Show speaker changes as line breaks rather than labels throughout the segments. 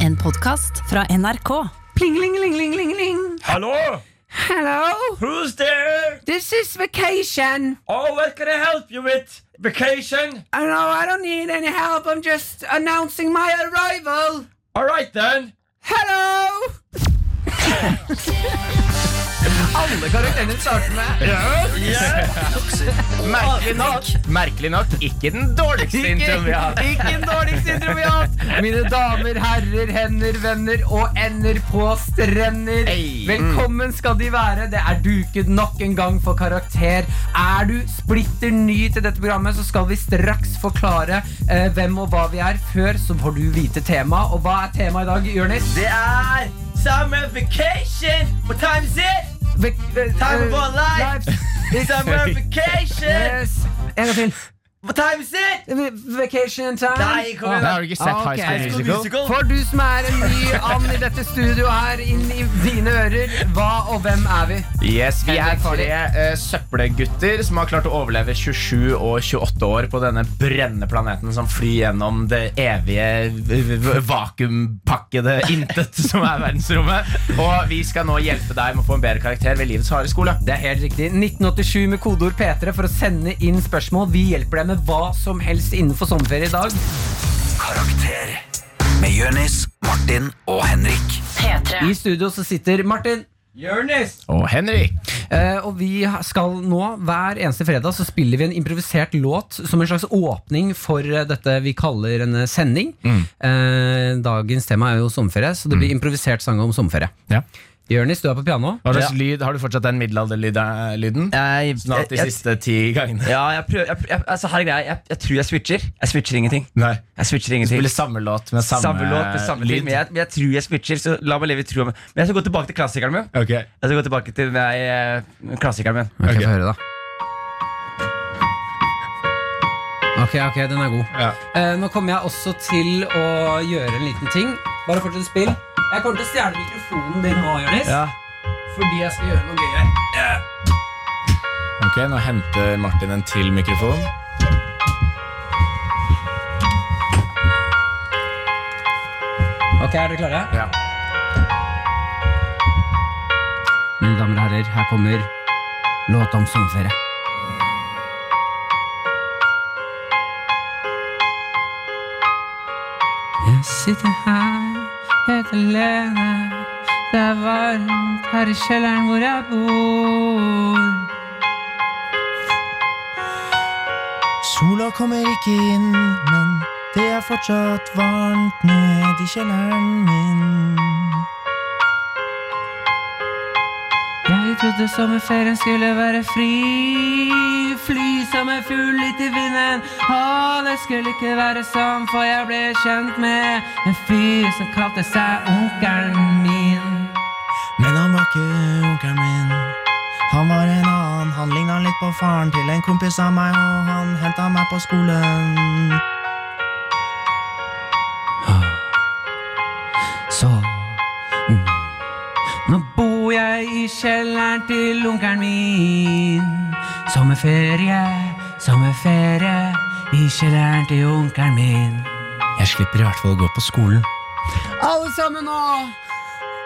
En podkast fra NRK.
Pling, ling, ling, ling, ling, ling.
Hello?
Hello,
Who's there?
this is vacation.
Oh, what can I help you with? Vacation?
I know I don't need any help. I'm just announcing my arrival.
Alright then.
Hello! Alle karakterene starter med
Merkelig nok, merkelig nok ikke den dårligste introen vi har.
Ikke den dårligste intro vi har hatt. Mine damer, herrer, hender, venner og ender på strender.
Hey.
Velkommen skal de være. Det er duket nok en gang for karakter. Er du splitter ny til dette programmet, så skal vi straks forklare eh, hvem og hva vi er. Før så får du vite temaet. Og hva er temaet i dag, Jonis?
Det er summer vacation. What time is it?
Ve- ve- eh,
Time of our life.
It's
Summer vacation.
Yes. En gang til.
What time is it?
Vacation time.
Nei, kom igjen.
Ah.
Har
du ikke sett
Ah, ok.
High School Musical?
For du som er en ny and i dette studioet her, inn i dine ører, hva og hvem er vi?
Yes, Vi er
Henrik Farley.
tre eh, søppelgutter som har klart å overleve 27 og 28 år på denne brennende planeten som flyr gjennom det evige v- v- vakuumpakkede intet som er verdensrommet. Og vi skal nå hjelpe deg med å få en bedre karakter ved livets harde skole.
Det er helt riktig. 1987 med kodeord P3 for å sende inn spørsmål. Vi hjelper deg med hva som helst innenfor sommerferie i dag.
Karakter med Jønis, Martin og Henrik.
P3.
I studio så sitter Martin.
Og Henrik.
Eh, og vi ha- skal nå, hver eneste fredag, så spiller vi en improvisert låt som en slags åpning for eh, dette vi kaller en eh, sending. Eh, dagens tema er jo sommerferie, så det blir improvisert sang om sommerferie.
Ja.
Jørnis, du er på piano.
Hva slags lyd, Har du fortsatt den middelalderlyden?
Jeg,
Snart de
jeg,
siste ti gangene.
ja, jeg prøver jeg, jeg, altså, her er greia. Jeg, jeg tror jeg switcher. Jeg switcher ingenting.
Nei.
Jeg switcher ingenting
Spiller samme låt med samme,
Samme låt
eh,
med samme ting, men jeg, men jeg tror jeg switcher. Så la meg leve i troa. Men jeg skal gå tilbake til klassikeren min.
Ok,
Jeg skal gå tilbake til nei, eh, klassikeren min
Ok,
Ok.
få høre da Ok, ok, den er god
ja.
eh, Nå kommer jeg også til å gjøre en liten ting Bare fortsett å spille Jeg kommer til å stjerne mikrofonen din nå, Jonis
Ja.
Fordi jeg skal gjøre noe gøy her
Ok, Nå henter Martin en til mikrofon.
Ok, er dere klare?
Ja.
Mine damer og herrer, her kommer låt om sommerferie Jeg sitter her helt alene. Det er varmt her i kjelleren hvor jeg bor.
Sola kommer ikke inn, men det er fortsatt varmt ned i kjelleren min.
Jeg trodde sommerferien skulle være fri. Fly som en fugl litt i vinden. Å, det skulle ikke være sånn, for jeg ble kjent med en fyr som kalte seg onkelen min.
Men han var ikke onkelen min. Han var en annen. Han ligna litt på faren til en kompis av meg, og han henta meg på skolen.
Ah. Så mm. Nå bor jeg i kjelleren til onkelen min. Sommerferie, sommerferie i kjelleren til onkelen min.
Jeg slipper i hvert fall å gå på skolen.
Alle sammen nå!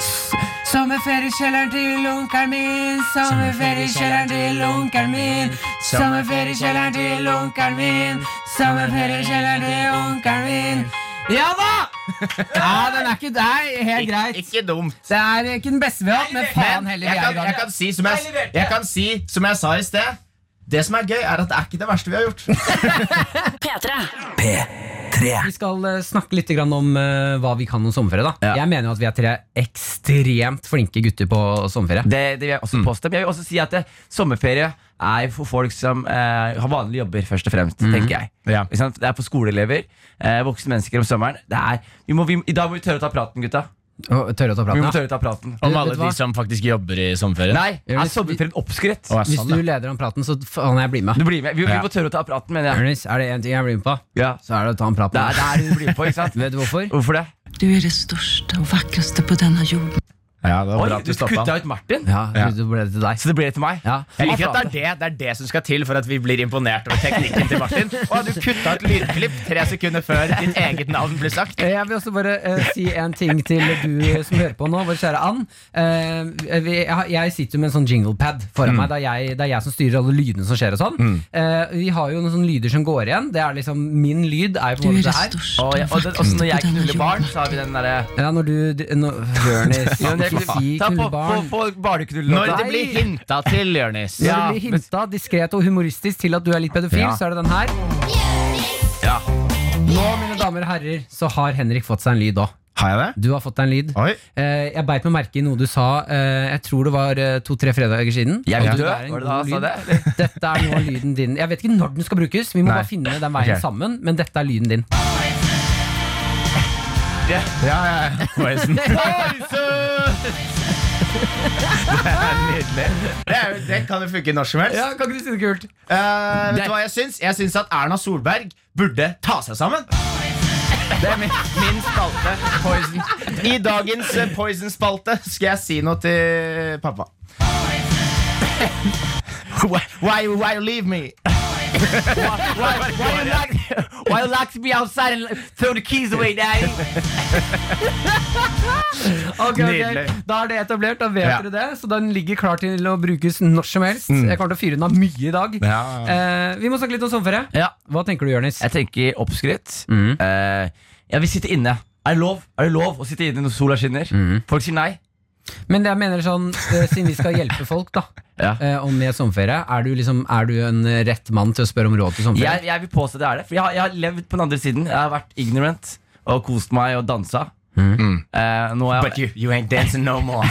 S- Sommerferie i kjelleren til onkelen min. Sommerferie i kjelleren til onkelen min. Sommerferie i kjelleren til onkelen min. Sommerferie i kjelleren til onkelen min. Ja da! Ja, den er ikke deg. Helt greit.
Ikke dumt.
Det er ikke den beste vi har hatt, men faen heller
jeg
vi er i
kan, jeg,
gang.
kan si som jeg, jeg kan si som jeg sa i sted. Det som er gøy, er at det er ikke det verste vi har gjort.
P3.
P3.
Vi skal eh, snakke litt grann om eh, hva vi kan om sommerferie. da Jeg mener jo at vi er tre ekstremt flinke gutter på sommerferie.
Det, det vil jeg også påstå. Men jeg vil også si at eh, sommerferie er for folk som eh, har vanlige jobber, først og fremst. tenker jeg
Ja.
Ikke sant? Det er for skoleelever, eh, voksne mennesker om sommeren. Det er, vi må, vi, I dag må vi tørre å ta praten, gutta.
Og tørre å ta
Vi må
praten. ja.
tørre å ta praten
Om
Vet
alle
du hva?
de som faktisk jobber i sommerferien.
Nei, er sommerferien oppskritt?
Å, er
Hvis
sånn,
du
ja.
leder om praten, så faen, jeg blir med.
Du blir med. Vi, vi
Ja.
må tørre å ta praten, mener jeg.
Ernest, er det én ting jeg blir med på,
Ja.
så er det å ta en prat
Det
med
er
deg.
der du blir på, ikke sant?
Vet du hvorfor?
Hvorfor det?
Du er det største og vakreste på denne jorden.
Ja, det var
Oi,
bra at
du
du stoppet
kutta
han.
ut Martin?
Ja,
Ja.
så ble det til deg.
Så det ble til meg?
Ja.
Jeg liker at det er, det, det er det som skal til for at vi blir imponert over teknikken til Martin. Og du kutta et lydklipp tre sekunder før ditt eget navn ble sagt.
Eh, Jeg vil også bare eh, si en ting til du som hører på nå, vår kjære Ann. Eh, vi, jeg har- jeg sitter jo med en sånn jinglepad foran
Mm.
meg. Det er, jeg, det er jeg som styrer alle lydene som skjer og sånn. Eh, vi har jo noen sånne lyder som går igjen. Det er liksom, min lyd er jo på en måte det her.
Og, jeg, og, den, også når jeg knuller barn, så har vi den derre
Ja, når du d- nå- Jonis,
Ja, men jeg-
ikke si
Ta på, på,
knullebarn.
på
Når
barneknullelåta.
det blir hinta til, Jonis.
Når det blir hinta diskret og humoristisk til at du er litt pedofil,
Ja.
så er det den her.
Ja.
Nå, mine damer og herrer, så har Henrik fått seg en lyd òg.
Har jeg det?
Du har fått deg en lyd.
Oi.
Eh, jeg beit meg merke i noe du sa eh, Jeg tror det var eh, to-tre fredager siden.
Jeg
Og
vil
du
dø,
er en
var det
god
da han sa
lyd.
det? eller?
Dette er nå lyden din. Jeg vet ikke når den skal brukes, vi må
Nei.
bare finne den veien
Ok.
sammen. Men dette er lyden din.
Ja, ja, ja. Poison. Det er nydelig. Det, er, jo- det kan jo funke når som helst.
kan ikke du si det kult?
Eh, vet du hva jeg syns? Jeg syns at Erna Solberg burde ta seg sammen. Det er min, min spalte. Poison. I dagens eh, Poison-spalte skal jeg si noe til pappa. Why, why, why you leave me?
Why, why you lock, why you lock me outside and throw the keys away, daddy?
Nydelig.
Da er det etablert, da vet
Ja. Mm.
dere det. Så den ligger klar til å brukes når som helst. Jeg kommer til å fyre den av mye i dag.
Ja,
Eh, vi må snakke litt om sommerferie.
Ja.
Hva tenker du, Jonis?
Jeg tenker oppskrytt.
mm,
Eh, jeg vil sitte inne. Er det lov Er det lov å sitte inne når sola skinner?
Mm.
Folk sier nei.
Men jeg mener sånn, eh, siden vi skal hjelpe folk da
Ja.
eh, og med sommerferie, er du, liksom, er du en eh, rett mann til å spørre om råd til sommerferie?
Jeg, jeg vil påstå det er det. For jeg har, jeg har levd på den andre siden. Jeg har vært ignorant og kost meg og dansa. Eh, nå er jeg,
Mm. But you, you ain't dancing no more.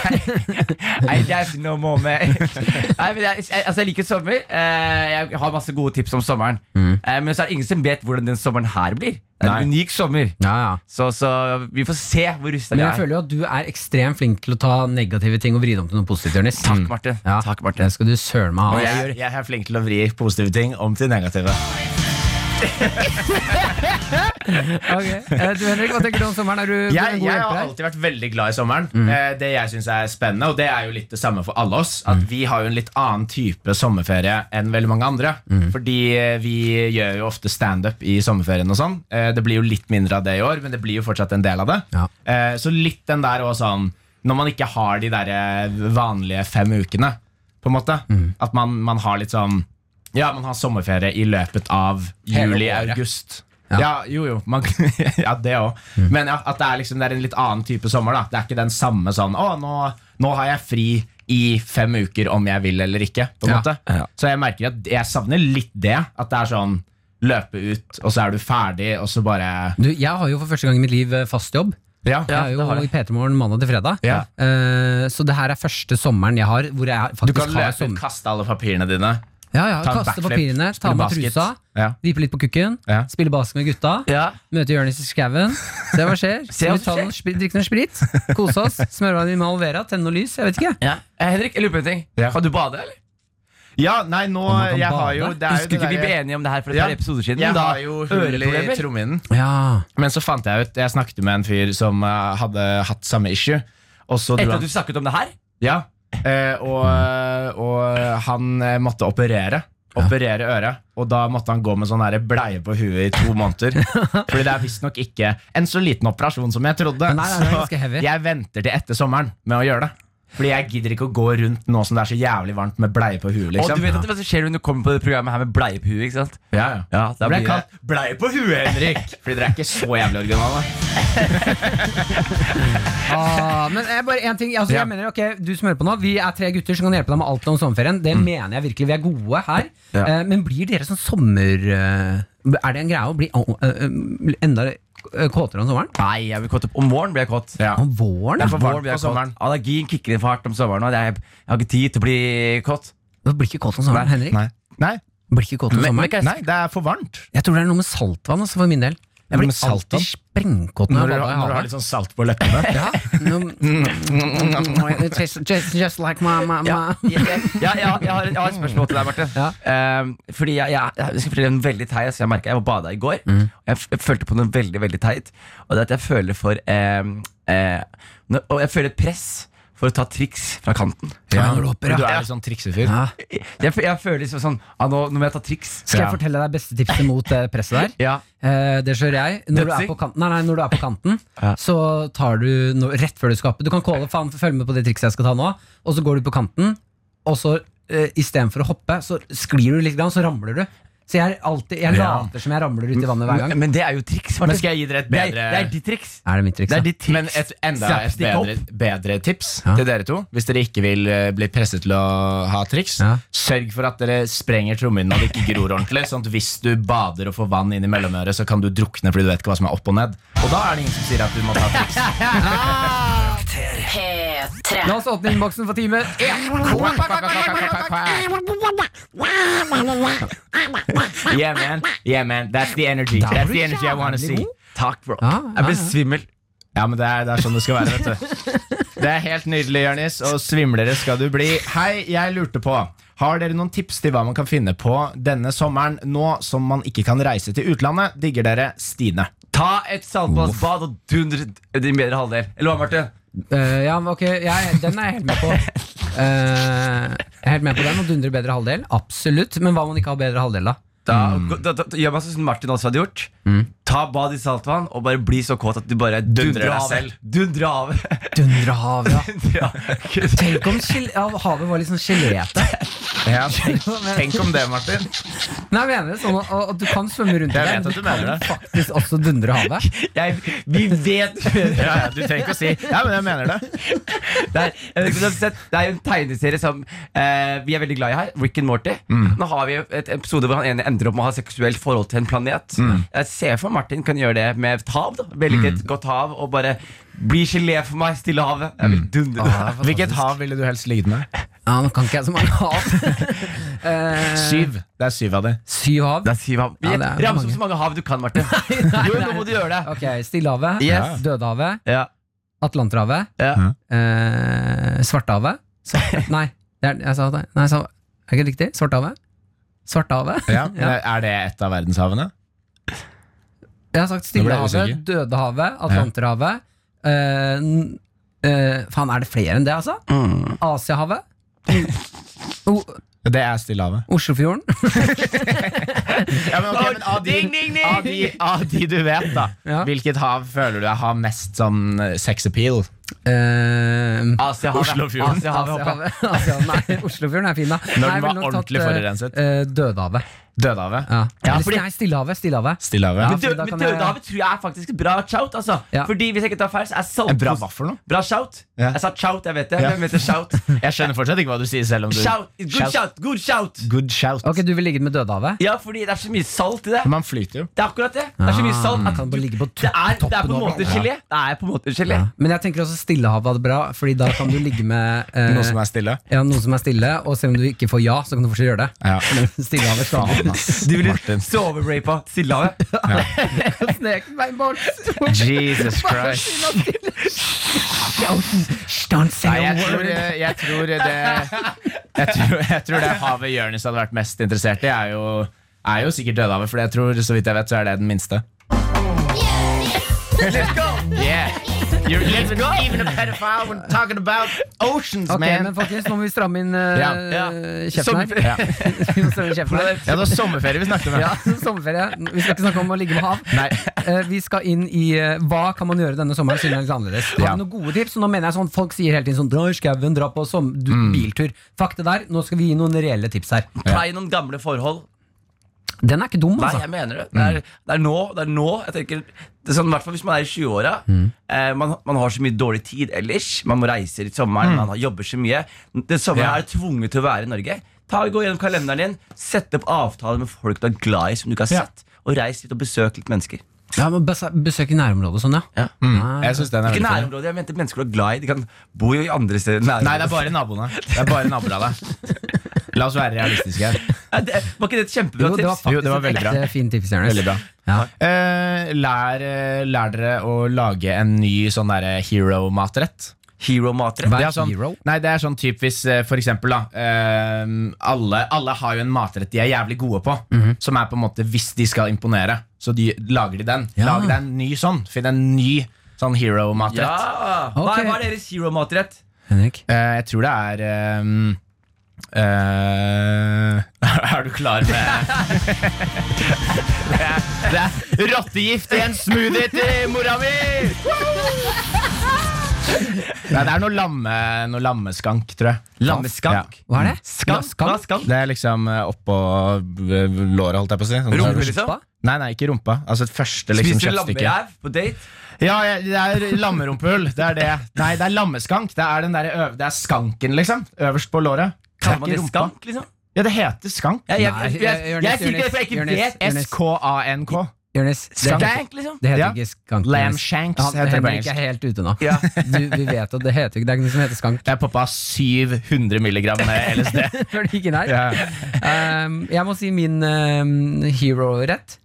Nei, det er ikke noe må med Nei, men jeg, jeg, altså jeg liker sommer eh, Jeg har masse gode tips om sommeren eh, Men så er det ingen som vet hvordan den sommeren her blir Det er en unik sommer
Ja, ja.
så, så vi får se hvor rustet
Men
jeg
jeg
er
føler jo at du er ekstremt flink til å ta negative ting og vri det om til noe positivt. Jonis.
Takk Martin
Mm. Ja,
Takk
Det
Martin
skal du søren meg ha.
jeg, gjør- jeg er flink til å vri positive ting om til negative.
Ok. Eh, Du Henrik, hva tenker du om sommeren? Er du
jeg,
god
jeg har
hjelper Mm. her?
alltid vært veldig glad i sommeren. Eh, det jeg synes er spennende, og det er jo litt det samme for alle oss,
Mm.
at vi har jo en litt annen type sommerferie enn veldig mange andre.
Mm.
Fordi eh, vi gjør jo ofte standup i sommerferien og sånn. Eh, det blir jo litt mindre av det i år, men det blir jo fortsatt en del av det.
Ja.
Eh, så litt den der òg sånn Når man ikke har de der eh, vanlige fem ukene, på en måte.
Mm.
At man, man har litt sånn Ja, man har sommerferie i løpet av
Hele året.
juli-august. Ja. jo jo. Man, ja, det òg.
Mm.
Men ja, at det er, liksom, det er en litt annen type sommer. da Det er ikke den samme sånn Å, nå, nå har jeg fri i fem uker om jeg vil eller ikke. På en
Ja,
måte Så jeg merker at jeg savner litt det. At det er sånn løpe ut, og så er du ferdig, og så bare
Du, jeg har jo for første gang i mitt liv eh, fast jobb.
Ja,
Jeg er
det har
jo
jeg.
i P3 Morgen mandag til fredag.
Ja.
Eh, så det her er første sommeren jeg har hvor jeg
Du
faktisk
kan sånn-
har
løpe ut,
sommer.
kaste alle papirene dine.
Ja, ja,
ta en
kaste
backflip,
papirene, ta
spille
med
basket.
trusa,
Ja.
ripe litt på kukken,
Ja.
spille basket med gutta.
ja.
Møte Jonis i skauen, se hva skjer.
Se hva
Vi tar
som
noen spri- Drikke noe sprit, kose oss. Smøre hverandre med aloe vera, tenne noe lys. Jeg vet ikke.
Ja. Eh, Henrik, jeg lurer på en ting
Ja.
Kan du bade, eller?
Ja, nei, nå
man kan
jeg har
bade.
jo, det er jo
Husker
det
ikke vi
der-
ble enige om det her for et
Ja.
par episoder siden?
Jeg
da
har jo hull i
øreproblemer.
trommehinnen.
Ja.
Men så fant jeg ut Jeg snakket med en fyr som eh, hadde hatt samme issue. Og så dro
Etter at
han
du snakket om det her?
Ja eh, og, og han eh, måtte operere. Operere øret. Og da måtte han gå med sånn her bleie på huet i to måneder. Fordi det er visstnok ikke en så liten operasjon som jeg trodde.
Nei, nei, det er ganske heavy.
så Altså, jeg venter til etter sommeren med å gjøre det. Fordi jeg gidder ikke å gå rundt nå som det er så jævlig varmt med bleie på huet.
Og
liksom
du vet at det skjer når du kommer på det programmet her med bleiepue, ikke sant?
Ja, ja
Ja, da
Det ble
blir det
kalt bleie på huet, Henrik! Fordi dere er ikke så jævlig originale.
Ah, men jeg bare en ting altså,
Ja.
jeg mener, ok, Du som hører på nå, vi er tre gutter som kan hjelpe deg med alt om sommerferien.
Mm.
Det mener jeg virkelig. Vi er gode her. Eh, men blir dere sånn sommer... eh, er det en greie å bli eh, eh, enda eh, kåtere om sommeren?
Nei, jeg blir kåt opp Om våren blir jeg kåt
Ja.
Om våren?
Det
Ja.
er for varmt på sommeren.
Allergien kicker inn for hardt om sommeren. Og det er, jeg har ikke tid til å bli kåt.
Du Blir ikke kåt om sommeren, Henrik.
Nei. Nei.
Blir ikke kåt om
Men, men,
sommeren.
nei, det er for varmt.
Jeg tror det er noe med saltvann altså, for min del. Jeg
Noe med
blir alltid
saltvann?
sprengkåt når jeg bader i havet.
sånn salt på leppene.
Ja. No, just,
Mm.
just, just like my, my, my.
Ja, jeg, jeg, jeg, jeg, har, jeg har et spørsmål til deg, Marte.
Ja.
Ehm, fordi jeg, jeg, jeg skal fortelle en veldig teit altså Jeg merket jeg var bada i går. Og jeg, f jeg følte på noe veldig veldig teit. Og det er at jeg føler for ehm, eh, nå- Og jeg føler et press for å ta triks fra kanten.
Ja.
når du hopper, ja.
Du er litt sånn triksefyr.
Ja.
Jeg, jeg føler liksom sånn ah, nå, nå må jeg ta triks.
Skal jeg
Ja.
fortelle deg beste tipset mot det presset der?
Ja.
Eh, det skjønner jeg. Når du, er
Dødsing?
på kanten, nei, nei, når du er på kanten, så tar du no, rett før du skal opp Du kan calle, faen, følg med på det trikset jeg skal ta nå. Og så går du på kanten, og så eh, istedenfor å hoppe, så sklir du litt, grann, så ramler du. Så jeg, er alltid, jeg
Ja.
later som jeg ramler ut i vannet hver gang.
Men, men det er jo triks. Martin.
Men skal jeg gi dere et
det, er,
bedre
det er ditt triks.
Er det mitt triks?
Det
da?
er ditt triks.
Men et, enda
Slapp,
et
stikk
bedre,
opp.
bedre tips
Ja.
til dere to. Hvis dere ikke vil eh, bli presset til å ha triks,
Ja.
sørg for at dere sprenger trommehinnen og det ikke gror ordentlig. Sånn at hvis du bader og får vann inn i mellomøret, så kan du drukne fordi du vet ikke hva som er opp og ned. Og da er det ingen som sier at du må ta triks.
P3.
La oss åpne innboksen for time
Yeah, man. Yeah, man. That's the energy. That's the energy I wanna see. Takk, bro.
Ja, ja,
Jeg blir svimmel.
Ja, men det er, det er sånn det skal være, vet du. Det er helt nydelig, Jørnis, og svimlere skal du bli. Hei, jeg lurte på, har dere noen tips til hva man kan finne på denne sommeren, nå som man ikke kan reise til utlandet? Digger dere Stine.
Ta et saltvannsbad og dundre din bedre halvdel. Eller hva, Marte?
Eh, ja, men ok, jeg, den er jeg helt med på. Eh, jeg er helt med på den og dundrer bedre halvdel. Absolutt. Men hva om man ikke har bedre halvdel, da?
Da,
Mm.
da, da, da, gjør man sånn som Martin også hadde gjort. Ta bad i saltvann og bare bli så kåt at du bare dundrer
deg
av.
selv.
Dundrer av.
Dundre havet, ja.
ja.
Tenk om gel ja, havet var litt sånn geléete.
Ja, tenk, tenk om det, Martin.
Nei, jeg mener det sånn at, at du kan svømme rundt i
Jeg
det.
vet at du mener det.
Faktisk også dundre havet.
Jeg, vi vet du mener
Ja, ja, du trenger ikke å si Ja, men jeg mener det.
Det er, jeg vet ikke om du har sett, det er jo en tegneserie som eh, vi er veldig glad i her. Rick and Morty.
Mm.
Nå har vi jo et episode hvor han ene ender opp med å ha seksuelt forhold til en planet.
Mm.
Jeg ser for Martin kan gjøre det med et hav. da Velge et godt hav og bare bli gelé for meg, Stillehavet. Jeg vil dundre det.
Mm. Ah, Hvilket hav ville du helst ligget med?
Ja, nå kan ikke jeg så mange hav. Eh,
Syv. Det er syv av de.
syv hav?
Det er syv hav.
Ja, det er
Rams
mange.
opp så mange hav du kan, Martin.
Nei,
Jo,
nei.
nå må du gjøre det.
Ok, Stillehavet,
Yes.
Dødehavet,
Ja.
Atlanterhavet,
Ja.
eh, Svartehavet Svarte- Nei, det er, jeg sa det. Nei, jeg sa, er ikke det riktig? Svartehavet? Svartehavet?
Ja. Er det et av verdenshavene?
Jeg har sagt
ble jeg
Stillehavet,
usikker.
Dødehavet, Atlanterhavet eh, n- eh, Faen, er det flere enn det, altså?
Mm.
Asiahavet? Mm. O
Det er Stillehavet.
Oslofjorden? Eh,
Ja, men, ok, men av,
Ding,
de,
ding, ding!
av, de, av de du vet, da.
Ja.
Hvilket hav føler du har mest sånn eh, sex appeal?
Eh,
Asiahavet.
Oslofjorden.
Asiahavet, håper jeg.
Asiahavet. Asiahavet. Nei, Oslofjorden er fin, da.
den
Nei, jeg
var
ville nok tatt,
ordentlig
eh,
forurenset.
eh, Dødehavet.
Dødehavet?
Ja. Eller,
fordi-
Nei, Stillehavet. Stillehavet.
Stillehavet?
Ja.
Men
fordi
dø-
da
men
kan jeg-
Dødehavet tror jeg er faktisk et bra shout. Altså.
Ja.
Fordi Hvis jeg ikke tar feil, så er
En bra
saltpose
vaffel nå?
Bra shout.
Ja.
Jeg sa shout, jeg vet det.
Ja.
Hvem heter shout?
Jeg skjønner fortsatt ikke hva du sier, selv om du
Shout, Good shout.
Shout.
good shout
Good shout.
Ok, Du vil ligge med Dødehavet?
Ja, fordi det er så mye salt i det.
Man flyter jo.
Det er akkurat det. Det er så mye salt
Ah,
at
Kan
du-
bare ligge på to
det er,
toppen
det er på
av
en måte
hverandre.
gelé. Det er på en måte gelé.
Men jeg tenker også Stillehavet er bra, Fordi da kan du ligge med eh,
Noe som er stille.
ja, noen som er stille, og selv om du ikke får ja, så kan du fortsatt gjøre det.
Ja.
Stillehavet skal ha den, ass.
Du ville
Martin.
soverapa Stillehavet.
Snek meg bort.
Jesus Christ.
Don't say
Nei,
a
jeg tror,
word.
eh, jeg tror det jeg tror, jeg tror det havet Jonis hadde vært mest interessert i, er jo, er jo sikkert Dødehavet. For jeg tror, så vidt jeg vet, så er det den minste. Let's go! Yeah. You're even, even a pedophile when talking about oceans,
Ok,
man.
men folkens, nå må vi stramme inn eh,
Ja.
Ja.
kjeften her.
Ja.
Vi må stramme inn kjeften her.
ja, det var sommerferie vi snakket om.
Ja, sommerferie. Vi skal ikke snakke om å ligge med hav.
Nei.
Eh, Vi skal inn i eh, hva kan man gjøre denne sommeren siden det er litt annerledes. Har
Ja.
du noen gode tips? Og nå mener jeg sånn, Folk sier hele tiden sånn dra i skauen, dra på som, du,
Mm.
biltur. Fuck det der. Nå skal vi gi noen reelle tips her.
Pleie noen gamle forhold.
Den er ikke dum,
Nei,
altså.
jeg mener det. Det er, det er nå. Det er nå jeg tenker, det er sånn, I hvert fall hvis man er i 20-åra.
Mm.
Eh, man, man har så mye dårlig tid ellers. Man må reise i sommeren,
Mm.
man har, jobber så mye. Den sommeren
Ja.
er du tvunget til å være i Norge. Ta, gå gjennom kalenderen din, Sett opp avtaler med folk du er glad i, som du ikke har
Ja.
sett. Og reis litt og besøk litt mennesker.
Ja, men bes- Besøk i nærområdet og sånn, ja.
Ja.
Nei.
Mm. Jeg synes den er
Ikke
veldig fin.
nærområdet, jeg mente mennesker du er glad i. De kan bo i andre steder. enn
Nei, det
nærområdet.
er bare naboene. Det er bare naboer av deg. La oss være realistiske her.
Ja, det, var ikke det et kjempebra
Jo, det var
tips?
faktisk
Jo, det var veldig
et
bra.
ekte fint tips, Jonis.
Veldig bra.
Ja.
Eh, lær, eh, lær dere å lage en ny sånn derre hero-matrett.
Hero-matere.
Hva
Det
er
er sånn,
hero?
nei, det er sånn typ hvis eh, for eksempel da, eh, alle, alle har jo en matrett de er jævlig gode på,
Mhm.
som er på en måte hvis de skal imponere, så de, lager de den.
Ja.
Lag deg en ny sånn. Finn en ny sånn hero-matrett.
Ja. Hva, er-
Ok.
hva er deres hero-matrett?
Henrik?
Eh, jeg tror det er ehm, eh, Er du klar med Det er- Det er rottegift i en smoothie til mora mi! Nei, det er noe, lamme, noe lammeskank, tror jeg.
Lammeskank?
Ja.
Hva er det?
Skank? Hva er skank?
Det er liksom eh, oppå eh, låret, holdt jeg på å si. Sånn-
Rumpe, liksom?
Nei, nei, ikke rumpa. Altså første liksom,
Spiser du
kjøttstykke.
lammeræv på date?
Ja, jeg- det er lammerumpehull. Det er det. Nei, det er lammeskank. Det er, den der, øv- det er skanken, liksom. Øverst på låret.
Kaller man
Det
det
er ikke rumpa.
skank, liksom?
Ja, det heter skank.
Jeg, jeg,
Nei,
jeg, jeg, jeg,
Jonis,
er sikker
Jonis,
på at jeg ikke
Jonis,
vet
Jonis.
S-K-A-n-k.
Jonis, det,
Skank.
heter-
skank, liksom.
det heter
Ja.
ikke skank.
Lamb
Jonis.
shanks
Ja,
heter det på
Henrik
engelsk.
er helt ute nå.
Ja.
Du, vi vet at det heter ikke Det er ikke noe som heter skank.
Jeg poppa 700 milligram med LSD.
Før du gikk inn her.
ja.
Ehm, jeg må si min ehm, hero-rett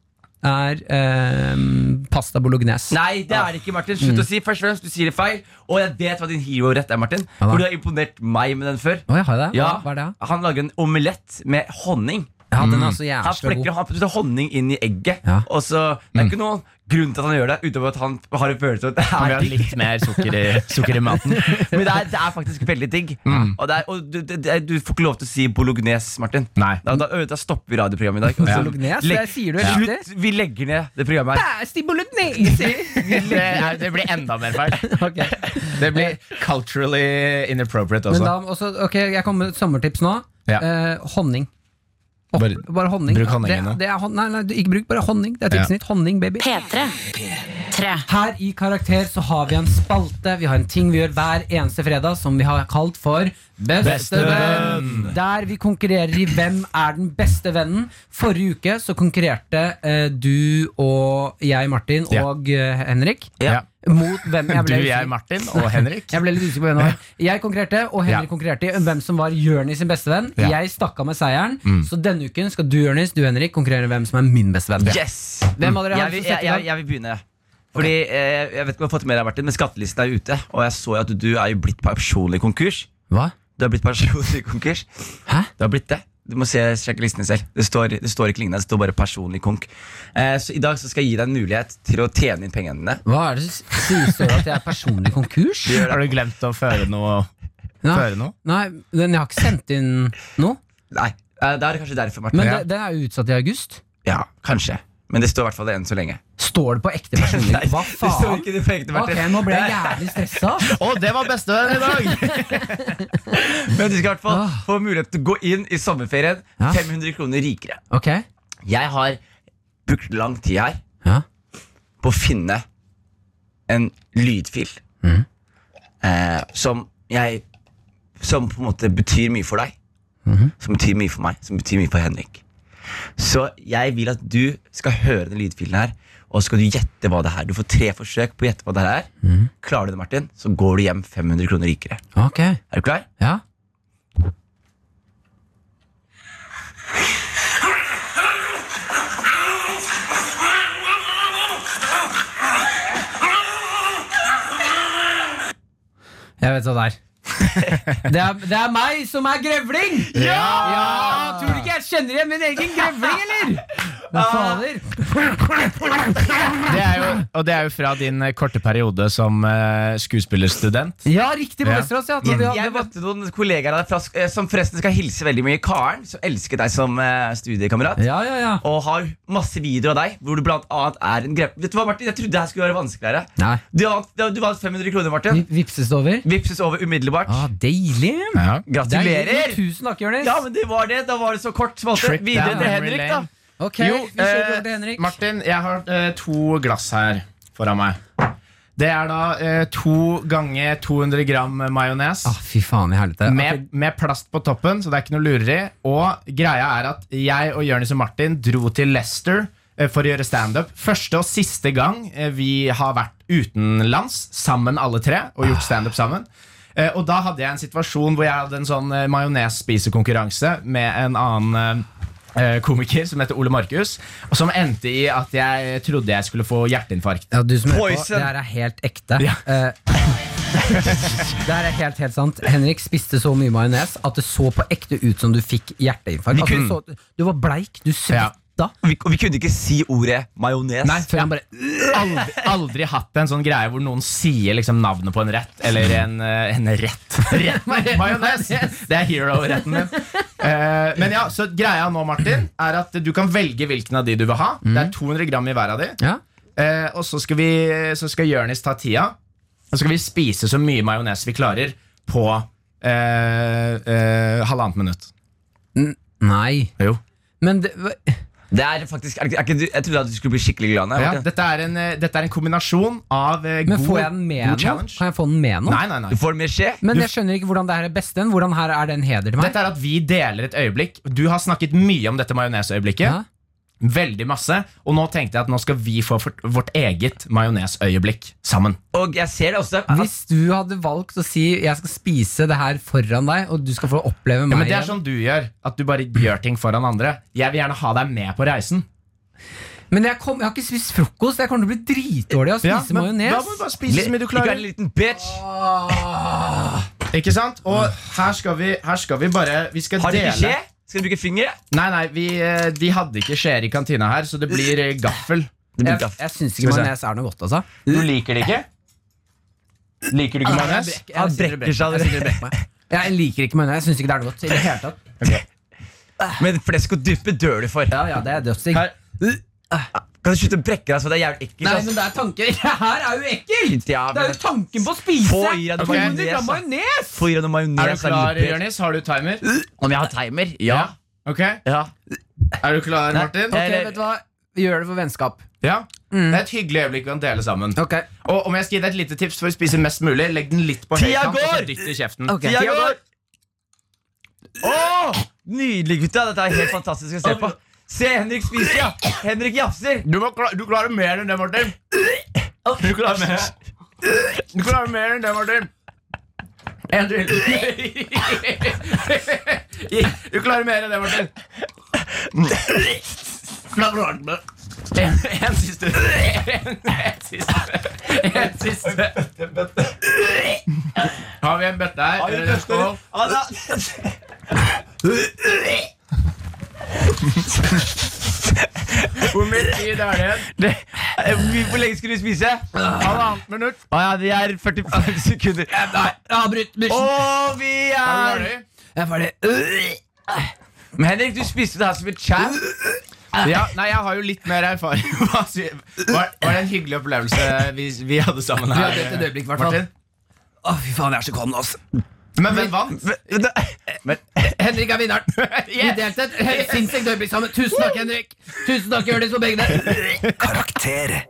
er ehm, pasta bolognese.
Nei, det er det ikke, Martin.
Mm.
Slutt å si først og fremst, du sier det feil. Og jeg vet hva din hero-rett er, Martin.
Hva da?
For du har imponert meg med den før.
Å, jeg har det?
Ja,
Hva er det? da?
Han lager en omelett med honning.
Ja, den
Mm.
er så
Han
jævla
flekker,
god.
han putter honning inn i egget.
Ja. Mm.
Og så, Det er ikke noen grunn til at han gjør det, utover at han har en følelse av at det
Han vil
er
ha
digg.
litt mer sukker i, sukker i maten.
Men det er, det er faktisk veldig digg.
Mm.
Og, det er, og du, det, det er, du får ikke lov til å si bolognese, Martin.
Nei.
Da, da, da stopper vi radioprogrammet i dag. Og så-
Bolognese?
Legg-
Det sier du helt riktig.
Slutt! Vi legger ned det programmet her.
Pasti bolognese!
Det, er, det blir enda mer feil.
Ok.
Det blir culturally inappropriate
Men
også.
da, også, ok, jeg kommer med et sommertips nå.
Altså. Ja.
Eh, honning. Opp,
Bare-
bare, honning.
bruk honningen
det,
nå.
det er, hon- nei, nei, du- ikke bruk, bare honning. Det er tipset
Ja.
ditt. Honning, baby.
P3. P3.
Her i Karakter så har vi en spalte. Vi har en ting vi gjør hver eneste fredag som vi har kalt for Bestevenn. Der vi konkurrerer i hvem er den beste vennen. Forrige uke så konkurrerte eh, du og jeg, Martin,
Ja.
og eh, Henrik
Ja.
mot hvem jeg
Du,
ble
jeg, Martin og Henrik.
jeg ble litt usikker på hvem det var. Jeg konkurrerte, og Henrik
Ja.
konkurrerte i hvem som var Jonis sin bestevenn.
Ja.
Jeg stakk av med seieren,
Mm.
så denne uken skal du, Jonis, du, Henrik, konkurrere om hvem som er min bestevenn.
Yes!
Hvem av dere har
jeg,
lyst
vil,
til å
jeg,
sette i gang?
jeg, jeg vil begynne. Fordi, eh, jeg vet ikke om jeg har fått med deg, Martin, men Skattelisten er ute. Og jeg så jo at du er jo blitt personlig konkurs.
Hva?
Du har blitt personlig konkurs.
Hæ?
Du har blitt det. Du må se, sjekke listene selv. Det står, det står ikke lignende, det står bare personlig konk. Eh, så i dag så skal jeg gi deg en mulighet til å tjene inn pengene dine.
Hva er det som sies over at jeg er personlig konkurs?
Har du glemt å føre noe?
Nei,
Føre noe?
nei den, jeg har ikke sendt inn noe.
Nei, eh, da er det kanskje derfor, Martin.
Men
ja.
det, den er jo utsatt i august.
ja, kanskje. Men det står i hvert fall det enn så lenge.
Står det på ekte personlig? Hva
Det står
faen?
ikke det på ekte,
Ok,
Martin.
Nå ble jeg jævlig stressa.
Å, det var bestevenn i dag!
Men du skal i hvert fall
Ah.
få mulighet til å gå inn i sommerferien
Ja.
500 kroner rikere.
Ok,
Jeg har brukt lang tid her
Ja.
på å finne en lydfil
Mm.
eh, som jeg Som på en måte betyr mye for deg.
Mm-hmm.
Som betyr mye for meg, som betyr mye for Henrik. Så jeg vil at du skal høre den lydfilen her, og så skal du gjette hva det er. Du får tre forsøk på å gjette hva det er.
Mm-hmm.
Klarer du det, Martin, så går du hjem 500 kroner rikere.
ok,
Er du klar?
ja. Jeg vet hva det er. Det er, det er meg som er grevling! Ja! Tror du ikke jeg kjenner igjen min egen grevling, eller? Men fader.
Det er jo, og det er jo fra din eh, korte periode som eh, skuespillerstudent.
Ja, riktig på
Ja.
Vesterås. Ja. Når vi hadde-
Jeg møtte noen kollegaer av deg fra, sk- eh, som forresten skal hilse veldig mye. Karen, som elsker deg som eh, studiekamerat.
ja, ja, ja.
Og har masse videoer av deg hvor du blant annet er en grep. Vet du hva, Martin? Jeg trodde det her skulle være vanskeligere.
Nei.
Du vant, du vant 500 kroner, Martin.
Mm.
Vi- Vipses det over?
Vipses over umiddelbart.
Ah, deilig!
Ja.
Gratulerer!
Deilig. Tusen takk, Jonis.
Ja, men det var det. Da var det så kort. Smalte.
Trip
Videre
down
til
memory
Henrik, da.
lane.
Ok,
Jo,
vi kjører over
eh,
til Henrik.
Martin, jeg har eh, to glass her foran meg. Det er da eh, to ganger 200 gram majones.
Ah, fy faen i helvete.
Med, med plast på toppen, så det er ikke noe lureri. Og greia er at jeg og Jonis og Martin dro til Leicester eh, for å gjøre standup. Første og siste gang eh, vi har vært utenlands sammen alle tre og gjort standup sammen. Eh, Og da hadde jeg en situasjon hvor jeg hadde en sånn eh, majonesspisekonkurranse med en annen eh, eh, komiker som heter Ole Markus, og som endte i at jeg trodde jeg skulle få hjerteinfarkt.
ja, du som hører på,
Poison.
det her er helt ekte.
Ja.
Eh, det her er helt, helt sant. Henrik spiste så mye majones at det så på ekte ut som du fikk hjerteinfarkt. Altså, du, så, du var bleik, du svetta. da?
Og vi, og vi kunne ikke si ordet majones.
Nei, før han bare aldri, aldri hatt en sånn greie hvor noen sier liksom navnet på en rett, eller en, eh, en rett. Rett med majones! Det er hero-retten din. Eh, men ja, så greia nå, Martin, er at du kan velge hvilken av de du vil ha.
Mm.
Det er 200 gram i hver av de.
Ja.
Eh, og så skal, vi, så skal Jørnis ta tida. Og så skal vi spise så mye majones vi klarer på eh, eh, halvannet minutt.
Nei.
Jo.
Men det, hva-
Det er faktisk, er, ikke- er ikke, du- jeg trodde at du skulle bli skikkelig glad. Nei,
Ja,
Martin.
dette, er en, eh, dette er en kombinasjon av eh,
men
god,
får jeg den med
god
nå?
challenge.
Kan jeg få den med nå?
Nei, nei, nei.
Du får mer skje.
Men jeg skjønner ikke hvordan det her er best enn. Hvordan her er det en heder til meg?
Dette er at vi deler et øyeblikk. Du har snakket mye om dette majonesøyeblikket.
Ja.
Veldig masse. Og nå tenkte jeg at nå skal vi få fort- vårt eget majonesøyeblikk sammen.
Og jeg ser det også.
Hvis du hadde valgt å si jeg skal spise det her foran deg, og du skal få oppleve
Ja,
meg
men det er
igjen.
sånn du gjør. At du bare gjør ting foran andre. Jeg vil gjerne ha deg med på reisen.
Men jeg, kom, jeg har ikke spist frokost. Jeg kommer til å bli dritdårlig av å spise
men Da må du
majones.
bare spise så mye du
Ikke vær en
klarer.
liten bitch.
Ikke sant? Og her skal vi, her skal vi bare Vi skal
Har du
dele
ikke skje? Skal du bruke finger?
Nei, nei, vi, eh, de hadde ikke skjeer i kantina her, så det blir eh, gaffel.
Jeg, jeg syns ikke
Skal vi se.
majones er noe godt, altså.
Du liker det ikke? Liker du ikke majones?
Jeg, jeg, synes det brekker-
seg
jeg, synes det brekker meg. jeg liker ikke majones. Jeg syns ikke det er noe godt. i det hele tatt.
Men flesk og duppe dør du for.
Ja, ja, det er dødsdigg.
Her.
Kan du slutte å brekke deg så det er jævlig ekkelt?
Nei,
ass?
men det er tanke Det her er jo ekkelt!
Ja,
Det er
men-
jo tanken på å spise!
Få i deg noe
200
majones,
gram
da.
majones!
Få i deg noe majones.
Er du klar,
litt bedre.
Jonis? Har du timer?
Om jeg har timer? Ja.
Ok,
ja.
Er du klar, Martin?
Ok, vet du hva? Vi gjør det for vennskap.
Ja. Det er et hyggelig øyeblikk vi kan dele sammen.
Ok,
Og om jeg skal gi deg et lite tips for å spise mest mulig, legg den litt på
Tida
høykant og så
går!
dytt i kjeften.
ok.
Tida går! Åh, nydelig, gutta. Dette er helt fantastisk å se på. Se, Henrik spiser, ja. Henrik jafser.
Du, må kla- du klarer mer enn det, Martin. Du klarer mer. Du klarer mer enn det, Martin. En til. Du klarer mer enn det, Martin. En, en siste. En, en siste. En siste. Har vi en bøtte her? Skål. Hvor mye tid er det igjen?
Det, eh, hvor- hvor lenge skulle du spise?
Halvannet minutt.
Å ja, vi er 45 sekunder.
Nei, avbryt bussen.
Og vi
Er du
er
ferdig?
Jeg er ferdig.
Men Henrik, du spiste det her som et champ.
Ja, nei, jeg har jo litt mer erfaring. Hva sier- Var, var det en hyggelig opplevelse vi, vi hadde sammen
Vi
her?
hadde et øyeblikk, i hvert fall.
Martin?
Å, fy faen, jeg er så kvalm, altså.
Men hvem vant?
Henrik er vinneren. Vi delte et helt sinnssykt øyeblikk sammen. Tusen takk, Henrik. Tusen takk, Jørnis, for begge dere.
Karakter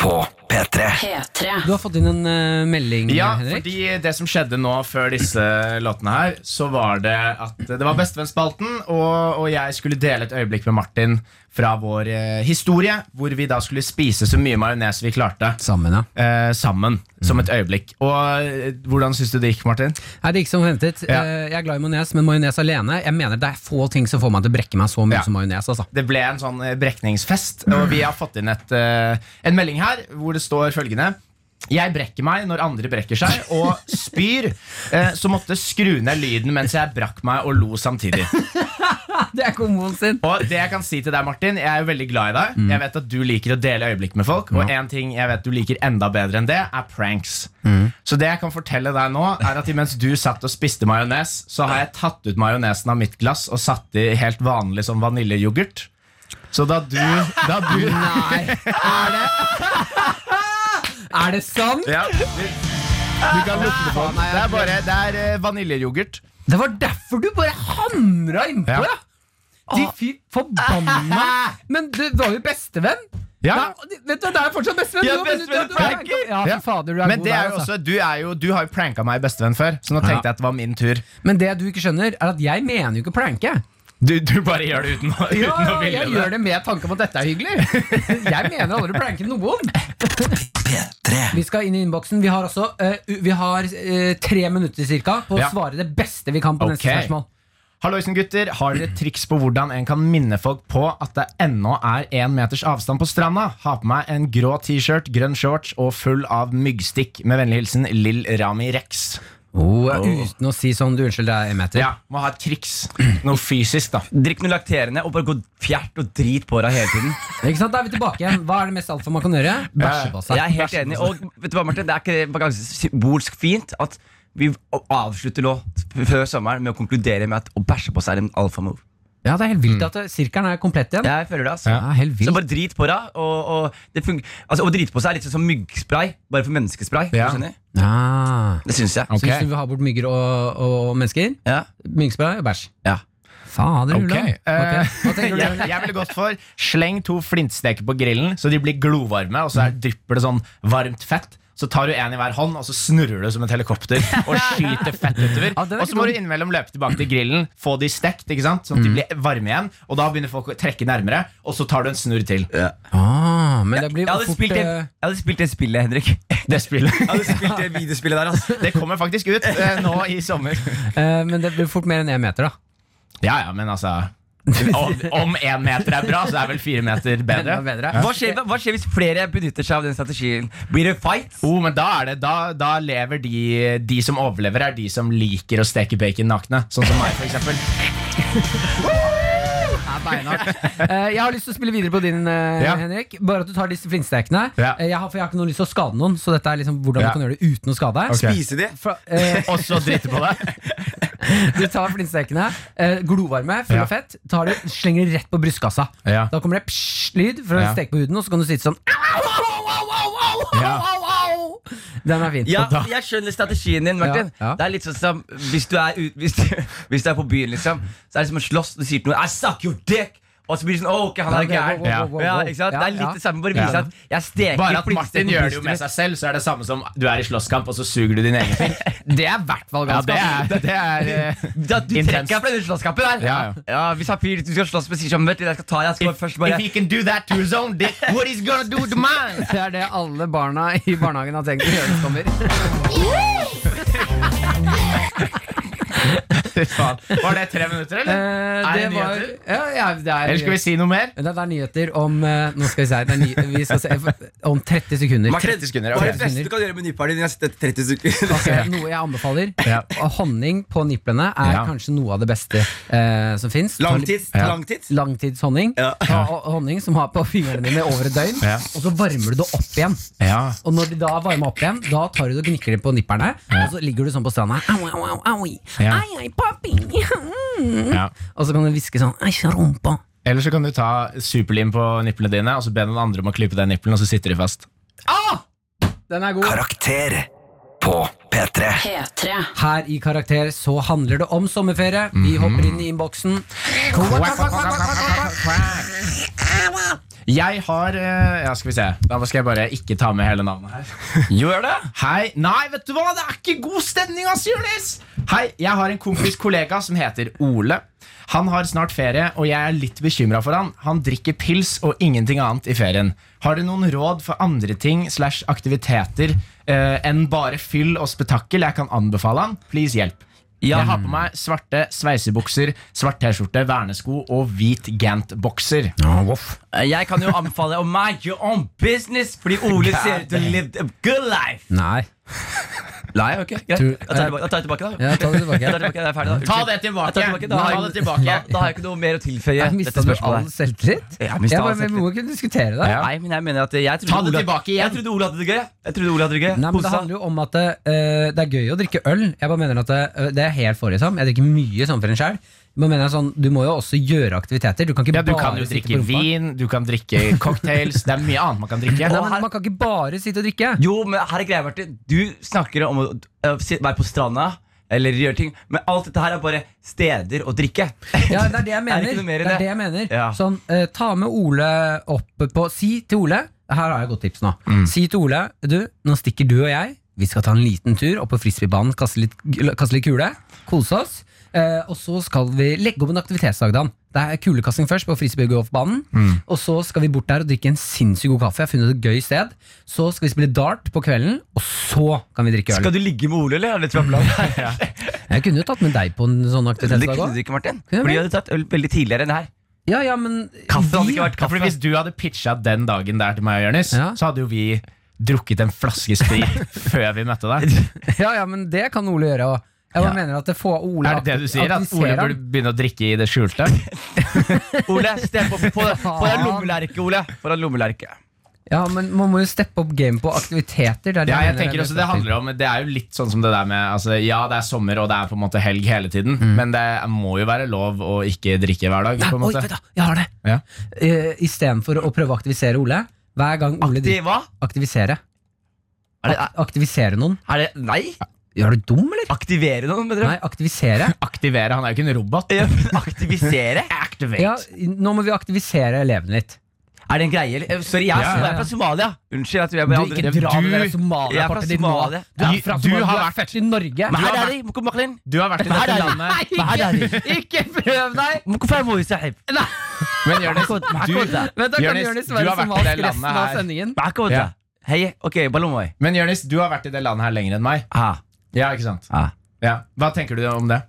på P3.
P3.
Du har fått inn en eh, melding,
Ja,
Henrik.
fordi det som skjedde nå før disse låtene her, så var det at det var Bestevennsspalten, og, og jeg skulle dele et øyeblikk med Martin fra vår eh, historie, hvor vi da skulle spise så mye majones vi klarte.
Sammen, ja.
eh, sammen, som et øyeblikk. Og eh, hvordan syns du det gikk, Martin?
Nei, det gikk som ventet.
Ja.
Eh, Jeg er glad i majones, men majones alene Jeg mener det er få ting som får meg til å brekke meg så mye
Ja.
som majones. Altså.
Det ble en sånn eh, brekningsfest, og vi har fått inn et, eh, en melding her hvor det står følgende. Jeg brekker meg når andre brekker seg, og spyr, eh, så måtte skru ned lyden mens jeg brakk meg og lo samtidig.
Det er komboen sin.
Og det jeg kan si til deg, Martin, jeg er jo veldig glad i deg.
Mm.
Jeg vet at du liker å dele øyeblikk med folk, og en ting jeg vet du liker enda bedre enn det, er pranks.
Mm.
Så det jeg kan fortelle deg nå, er at imens du satt og spiste majones, så har jeg tatt ut majonesen av mitt glass og satt i helt vanlig sånn vaniljeyoghurt. Så da du, da du
Nei, er det Er det sant?
ja, du, du kan lukte på den. Det er bare det er eh, vaniljeyoghurt.
Det var derfor du bare hamra innpå,
Ja.
ja! De fy forbanna Men du var jo bestevenn!
Ja.
Nei, vet du, Det er fortsatt bestevenn!
Ja,
du, men du-
bestevenn
du- du- du-
pranker.
Ja,
Ja.
fy fader, du er
Men
god
det
der,
er jo
altså.
også, du, er jo, du har jo pranka meg i bestevenn før, så nå tenkte jeg at det var min tur.
Men det du ikke skjønner, er at jeg mener jo ikke å pranke.
Du, du bare gjør det uten, å- uten
Ja,
å ville
jeg
det.
gjør det med tanke om at dette er hyggelig. Jeg mener aldri å pranke noen.
P3.
Vi skal inn i innboksen. Vi har også eh, u- Vi har eh, tre minutter cirka på å
Ja.
svare det beste vi kan på neste
Ok.
spørsmål.
Halloisen gutter, har dere et triks på hvordan en kan minne folk på at det ennå er én meters avstand på stranda? Ha på meg en grå T-skjørt, grønn shorts og full av myggstikk. Med vennlig hilsen Lill Rami Rex.
Oh, Uten å si sånn du unnskyld, det er en meter.
Ja, Må ha et triks. Noe fysisk, da.
Drikk noe lakterende og bare gå fjert og drit på deg hele tiden.
Ikke sant, Da er vi tilbake igjen. Hva er det mest alfa man kan gjøre? Bæsje på seg.
Jeg er helt enig. Og vet du hva, Martin, det er ikke bare ganske symbolsk fint at vi avslutter nå før sommeren med å konkludere med at å bæsje på seg er en alfamove.
Ja, Det er helt vilt at eh, sirkelen er komplett igjen.
Jeg føler det, altså.
Ja, helt
Mm. Så
vilt.
bare drit på deg. Og, og det fun- altså, å drite på seg er litt sånn som myggspray, bare for menneskespray.
Ja.
du skjønner?
Ah.
Det syns jeg.
Så hvis du vil ha bort mygger og, og mennesker,
Ja.
myggspray og bæsj
Ja.
Fader
Ok,
Ulland. Ok,
eh,
Hva tenker du?
Jeg, jeg ville gått for sleng to flintsteker på grillen, så de blir glovarme, og så er, drypper det sånn varmt fett. Så tar du en i hver hånd, og så snurrer du som et helikopter og skyter fett utover.
Ja, det er
og så må du innimellom løpe tilbake til grillen, få de stekt, ikke sant? sånn at
Mm.
de blir varme igjen. Og da begynner folk å trekke nærmere, og så tar du en snurr til.
Ah, men det blir
Jeg hadde,
fort
spilt det,
eh,
jeg hadde spilt det spillet, Henrik. Jeg
Det spillet.
hadde spilt det videospillet der, altså.
Det kommer faktisk ut eh, nå i sommer.
eh, Men det blir fort mer enn én meter, da.
Ja, ja, men altså Om, om én meter er bra, så er vel fire meter bedre.
Enda bedre.
Hva skjer, hva skjer hvis flere benytter seg av den strategien? Blir det fight?
Oh, men da, er det, da, da lever de De som overlever, er de som liker å steke bacon nakne. Sånn som meg, for eksempel.
Eh, jeg har lyst til å spille videre på din, eh,
Ja.
Henrik. Bare at du tar disse flintstekene.
Ja.
Eh, jeg, har, for jeg har ikke noe lyst til å skade noen, så dette er liksom hvordan
Ja.
du kan gjøre det uten å skade.
Spise de?
Fra, eh,
Og så drite på deg.
du tar flintstekene, eh, glovarme, full
Ja.
av fett, tar det, slenger det rett på brystkassa.
Ja.
Da kommer det psj-lyd for å
Ja.
steke på huden, og så kan du sitte sånn Den er fin.
Ja, jeg skjønner strategien din, Martin.
Ja, ja.
Det er litt sånn som Hvis du er, ut, hvis du, hvis du er på byen, liksom, så er det som å slåss. Du sier til noen 'I suck your dick', og så blir det sånn 'Å, ok, han er gæren'.
wow,
wow, wow.
Ja, ikke sant?
Ja,
Det er litt
ja.
det samme, bare vise
Ja.
at jeg steker
Bare at Martin
flintstekte
gjør det jo med
brystet
seg selv, så er det samme som du er i slåsskamp, og så suger du din egen ting.
Det er i hvert fall
Ja,
ganske
det er, det er eh,
mitt. Da, du
Intenst.
trekker deg fra den slåsskampen der.
Ja, ja.
Hvis han fyr du skal slåss med, sier sånn 'Vet du, jeg skal ta deg', jeg skal bare først bare
If he can do that to his own dick, what he's gonna do to mine?
Det er det alle barna i barnehagen har tenkt å gjøre. som kommer.
Fy faen. Var det tre minutter, eller?
Eh,
Er
det
det
var,
nyheter?
ja, ja, det er,
Eller skal vi si noe mer?
Men Det er nyheter om eh, Nå skal vi se her. Det er ny, vi skal se, om 30 sekunder.
Martin,
30 sekunder,
Hva
ok.
er det beste du kan gjøre med nyparty de neste 30 sekunder?
Altså, noe jeg anbefaler.
Ja.
Og Honning på niplene er
Ja.
kanskje noe av det beste eh, som fins.
Langtids.
Ja.
Langtids.
Langtidshonning.
Ja.
Ta ho- honning som har på fingrene dine over et døgn,
Ja.
og så varmer du det opp igjen.
Ja.
Og når de da er varma opp igjen, da tar du det og gnikker det på nipperne. Og så ligger du sånn på stranda. Au, au, au, au.
Ja.
Ai, ai, papi. Mm.
ja.
Og så kan du hviske sånn Æsj, rumpa.
Eller så kan du ta superlim på nipplene dine, og så be noen andre om å klype deg i nippelen, og så sitter de fast.
Ah! Den er god.
Karakter på P3.
P3.
Her i Karakter så handler det om sommerferie. Vi
Mhm.
hopper inn i innboksen.
Jeg har eh, Ja, skal vi se. Da skal jeg bare ikke ta med hele navnet her.
Gjør det!
Hei, Nei, vet du hva? Det er ikke god stemning, ass, Jonis! Hei, jeg har en kompis kollega som heter Ole. Han har snart ferie, og jeg er litt bekymra for han. Han drikker pils og ingenting annet i ferien. Har du noen råd for andre ting slash aktiviteter eh, enn bare fyll og spetakkel jeg kan anbefale han? Please hjelp. Jeg har på meg svarte sveisebukser, svart T-skjorte, vernesko og hvit Gant-bokser.
Jeg kan jo anbefale å mind your own business, fordi Ole ser ut til å live a good life.
Nei.
Nei, ok, greit.
Tror-
Jeg tar det tilbake- jeg tar det tilbake, da.
Ja, ta det tilbake.
Jeg tar det tilbake, jeg er ferdig, da.
Ta
Unnskyld.
det tilbake!
Jeg tar det tilbake, da,
Nå
har
ta
jeg-
det tilbake.
Da, da har jeg ikke noe mer å tilføye.
Jeg
dette
Mista du
spørsmålet
all
her.
selvtillit?
Jeg
Jeg
mistet all
bare, men Vi
selvtillit.
må kunne diskutere det.
Ja.
Nei, men jeg mener at jeg trodde
Ta det
Ole-
tilbake igjen.
Jeg trodde Ole hadde det gøy. Jeg trodde Ole hadde det gøy.
Nei, men Det
Kosa.
handler jo om at det, eh, det er gøy å drikke øl. Jeg bare mener at Det, eh, det er helt forrige Jeg drikker mye sånn for en sjæl. Men mener jeg sånn, du må jo også gjøre aktiviteter. Du kan ikke
Ja, du
bare
kan jo
sitte
drikke
på rumpa.
vin, du kan drikke cocktails. Det er mye annet man kan drikke.
Nei, men Man kan ikke bare sitte og drikke.
Jo, men her er greia, Martin. Du snakker om å øh, si- være på stranda. Eller gjøre ting Men alt dette her er bare steder å drikke.
Ja, det er det jeg
Er
mener.
det ikke noe mer i
det er
det?
det jeg mener.
Ja.
Sånn, eh, ta med Ole opp på Si til Ole Her har jeg et godt tips nå.
Mm.
Si til Ole Du, nå stikker du og jeg. Vi skal ta en liten tur opp på frisbeebanen, kaste litt, kaste litt kule, kose oss. Eh, og så skal vi legge opp en aktivitetsdag. Dan. Det er kulekasting først på frisbeegolfbanen.
Mm.
Og så skal vi bort der og drikke en sinnssykt god kaffe. Jeg har funnet et gøy sted Så skal vi spille dart på kvelden, og så kan vi drikke øl.
Skal du ligge med Ole, eller? Er det et plan?
Jeg kunne jo tatt med deg på en sånn
Det
aktivitetsdag
kunne
òg.
du ikke, Martin.
Ja,
For de
vel.
hadde tatt øl veldig tidligere enn det her.
Ja, ja, men
Kaffe hadde
vi-
ikke vært
Ja,
kaffe.
fordi Hvis du hadde pitcha den dagen der til meg og Jonis,
Ja.
så hadde jo vi drukket en flaske sprit før vi møtte deg?
Ja, ja, men det kan Ole gjøre òg. Jeg bare
Ja.
mener at det får Ole
Er det det du sier? At Ole burde begynne å drikke i det skjulte?
Ole, stepp opp på deg på deg lommelerke, Ole. På deg lommelerke.
Ja, men Man må jo steppe opp game på aktiviteter. Det er det
Ja,
jeg
jeg
mener
tenker
er
også
det
Det handler om Det er jo litt sånn som det der med altså, Ja, det er sommer, og det er på en måte helg hele tiden, men det må jo være lov å ikke drikke hver dag.
Mm. Nei,
På en
oi,
måte.
vet du, jeg har det!
Ja.
Eh, Istedenfor å prøve å aktivisere Ole. Hver gang Ole
Det
drikker
hva?
Aktivisere.
Er det,
Ak- Aktivisere noen.
er det Nei?
Er du dum, eller?
Aktivere noen, mener du?
Nei, aktivisere.
Aktivere. Han er jo ikke en robot.
Ja, men Aktivisere?
Ja, nå må vi aktivisere elevene litt.
Er det en greie? eller? Eh, Sorry, jeg er,
Ja, ja,
jeg
ja.
er fra Somalia. Unnsditt at vi er
Du,
bare
ikke
andre.
dra med
du-
det der
jeg er fra
Somalia-partiet ditt nå.
Somalia.
Du er
Du-
fra
du
Somalia,
har
du er
vært-
født i Norge.
Men
Du
her
har
er det Moko Maklin.
Du har vært i
Her er
dette
det.
landet
Men her er det.
Ikke prøv deg!
Moko Faye Moe Sahib.
Men Jonis, du,
Vent, da kan
Jonis,
Jonis
du
være
har vært i det
somalisk resten
landet
av
her.
sendingen.
Mako, vet du.
Ja.
Hei, ok, Balomoi.
Men Jonis, du har vært i det landet her lenger enn meg.
Ah,
Ja, ikke sant?
ah.
Ja. Hva tenker du om det?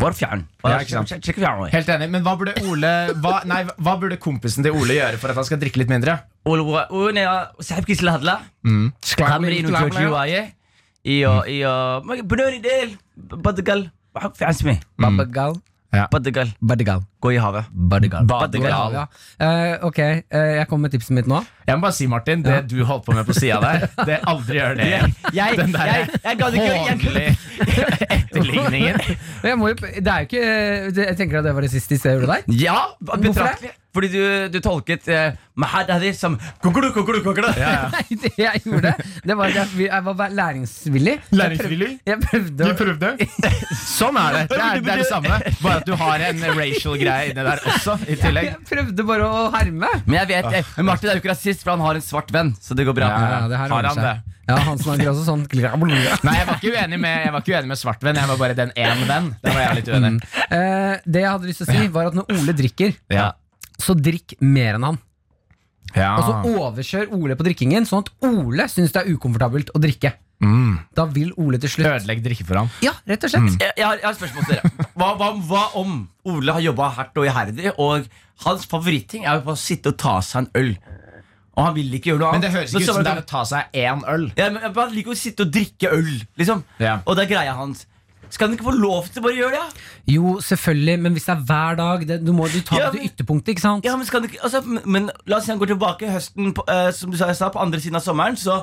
Bare er fjern.
Ja, ikke sant.
Sjekk fjern. oi.
Helt enig, men hva burde, Ole, hva, nei, hva burde kompisen til Ole gjøre for at han skal drikke litt mindre? Mm.
والو- ونيا وسحب كيس الهضله خامرين
er
وجوجوايه ايو ايو ما- بنوني ديل بدقل بحق في اسمه
Babagal.
بدقل
Mm. Badegal.
قوي هذا
Badegal.
Badegal.
Ja. Eh, ok, eh, jeg kommer med tipset mitt nå.
Jeg må bare si, Martin, det du holdt på med på sida der, det aldri gjør det igjen.
يا
Den der
يا يا قاعد يقول
hånlige etterligningen.
Men Jeg, må jo, det er jo ikke, eh, det- jeg tenker at det var det siste jeg gjorde der.
Ja,
betraktelig.
betraktelig. Fordi du, du tolket eh, Mahad Hadi som kukulu, kukulu, kukulu.
Nei, det jeg gjorde, det var at jeg, jeg var læringsvillig.
Læringsvillig?
Jeg prøvde å
prøvde? Sånn er det. Det er det, er det samme. Bare at du har en racial greie inni der også, i tillegg.
jeg prøvde bare å herme.
Men jeg vet, eh, men Martin er jo ikke rasist, for han har en svart venn. Så det går bra.
Ja, ja, det her Har ordner han seg.
Ja, han snakker også sånn
Nei, jeg var ikke uenig med, jeg var ikke uenig med svartvenn, jeg var bare den én venn. Der var jeg litt uenig.
Eh, Det jeg hadde lyst til å si, var at når Ole drikker,
Ja.
så drikk mer enn han.
Ja.
Og så overkjør Ole på drikkingen, sånn at Ole syns det er ukomfortabelt å drikke.
Mm.
Da vil Ole til slutt
Ødelegg drikke for ham.
Ja, rett og
Mm.
slett.
Jeg, jeg, har, jeg har et spørsmål til dere. Hva, hva, hva om Ole har jobba hardt og iherdig, og hans favoritting er jo bare å sitte og ta seg en øl? Og han vil ikke gjøre noe
Men
annet.
det høres ikke ut som det er å ta seg én øl.
ja, men Han liker å sitte og drikke øl, liksom.
Ja.
Og det er greia hans. Skal han ikke få lov til å bare gjøre det?
Jo, selvfølgelig, men hvis det er hver dag det, Du må du ta
Ja,
det til
men-
ytterpunktet, ikke sant?
Ja, men, skal han ikke, altså, men, men la oss si han går tilbake høsten, på, eh, som du sa, jeg sa, på andre siden av sommeren, så,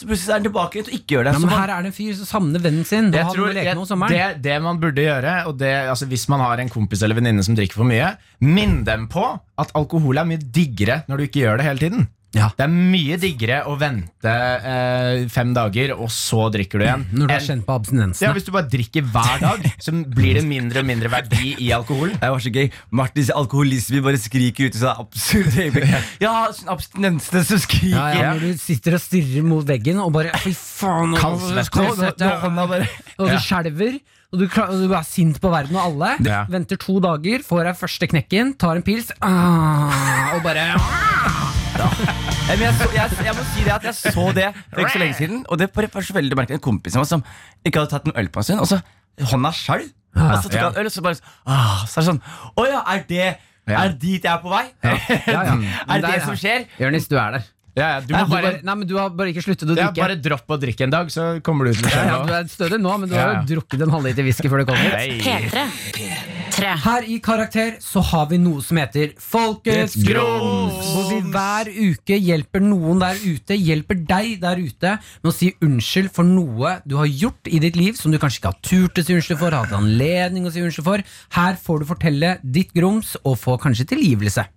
så plutselig er han tilbake til å ikke gjøre det.
Ja,
Så
men
man-
her er det en fyr som savner vennen sin. Og
Jeg
han
tror
må leke
jeg-
med om sommeren.
Det, det man burde gjøre, og det, altså hvis man har en kompis eller venninne som drikker for mye, minn dem på at alkohol er mye diggere når du ikke gjør det hele tiden.
Ja.
Det er mye diggere å vente eh, fem dager, og så drikker du igjen.
Når du har
enn-
kjent på
ja,
abstinensene.
hvis du bare drikker hver dag, så blir det mindre og mindre verdi i alkoholen.
Det var så gøy. Martins alkoholisme bare skriker ut. Så det er absurd øyeblikk. Ja, sånn abstinensene som skriker.
Ja, ja, når du sitter og stirrer mot veggen og bare Fy faen! nå-
Nå-
Kaldsvette.
nå- nå-
kaldsvette.
hånda bare
Og du
Ja.
skjelver, og du, kla- og du er sint på verden og alle.
Ja.
Venter to dager, får deg første knekken, tar en pils ah, og bare
Nei, men jeg, så, jeg, jeg må si det at jeg så det for ikke så lenge siden. Og det bare var så veldig merkelig En kompis av meg som ikke hadde tatt en øl på en stund, og så hånda skjelv. Og så tok
Ja.
han øl, og så bare ah, Så er det sånn Å ja, er det
Ja.
Er dit jeg er på vei?
ja, ja.
Er
Der,
det
ja.
som skjer?
Jonis, du er der.
Ja, ja, du
Nei,
må
du bare,
bare,
nei, men du har bare ikke sluttet å
ja,
drikke.
bare dropp å drikke en dag, så kommer du ut med
Ja, du
sjøl.
er stødig nå, men du har
Ja, ja.
jo drukket en halvliter whisky før du kom hit.
P3.
Her i Karakter så har vi noe som heter Folkets grums! Hvor vi hver uke hjelper noen der ute, hjelper deg der ute, med å si unnskyld for noe du har gjort i ditt liv som du kanskje ikke har turt å si unnskyld for, hatt anledning å si unnskyld for. Her får du fortelle ditt grums, og få kanskje tilgivelse.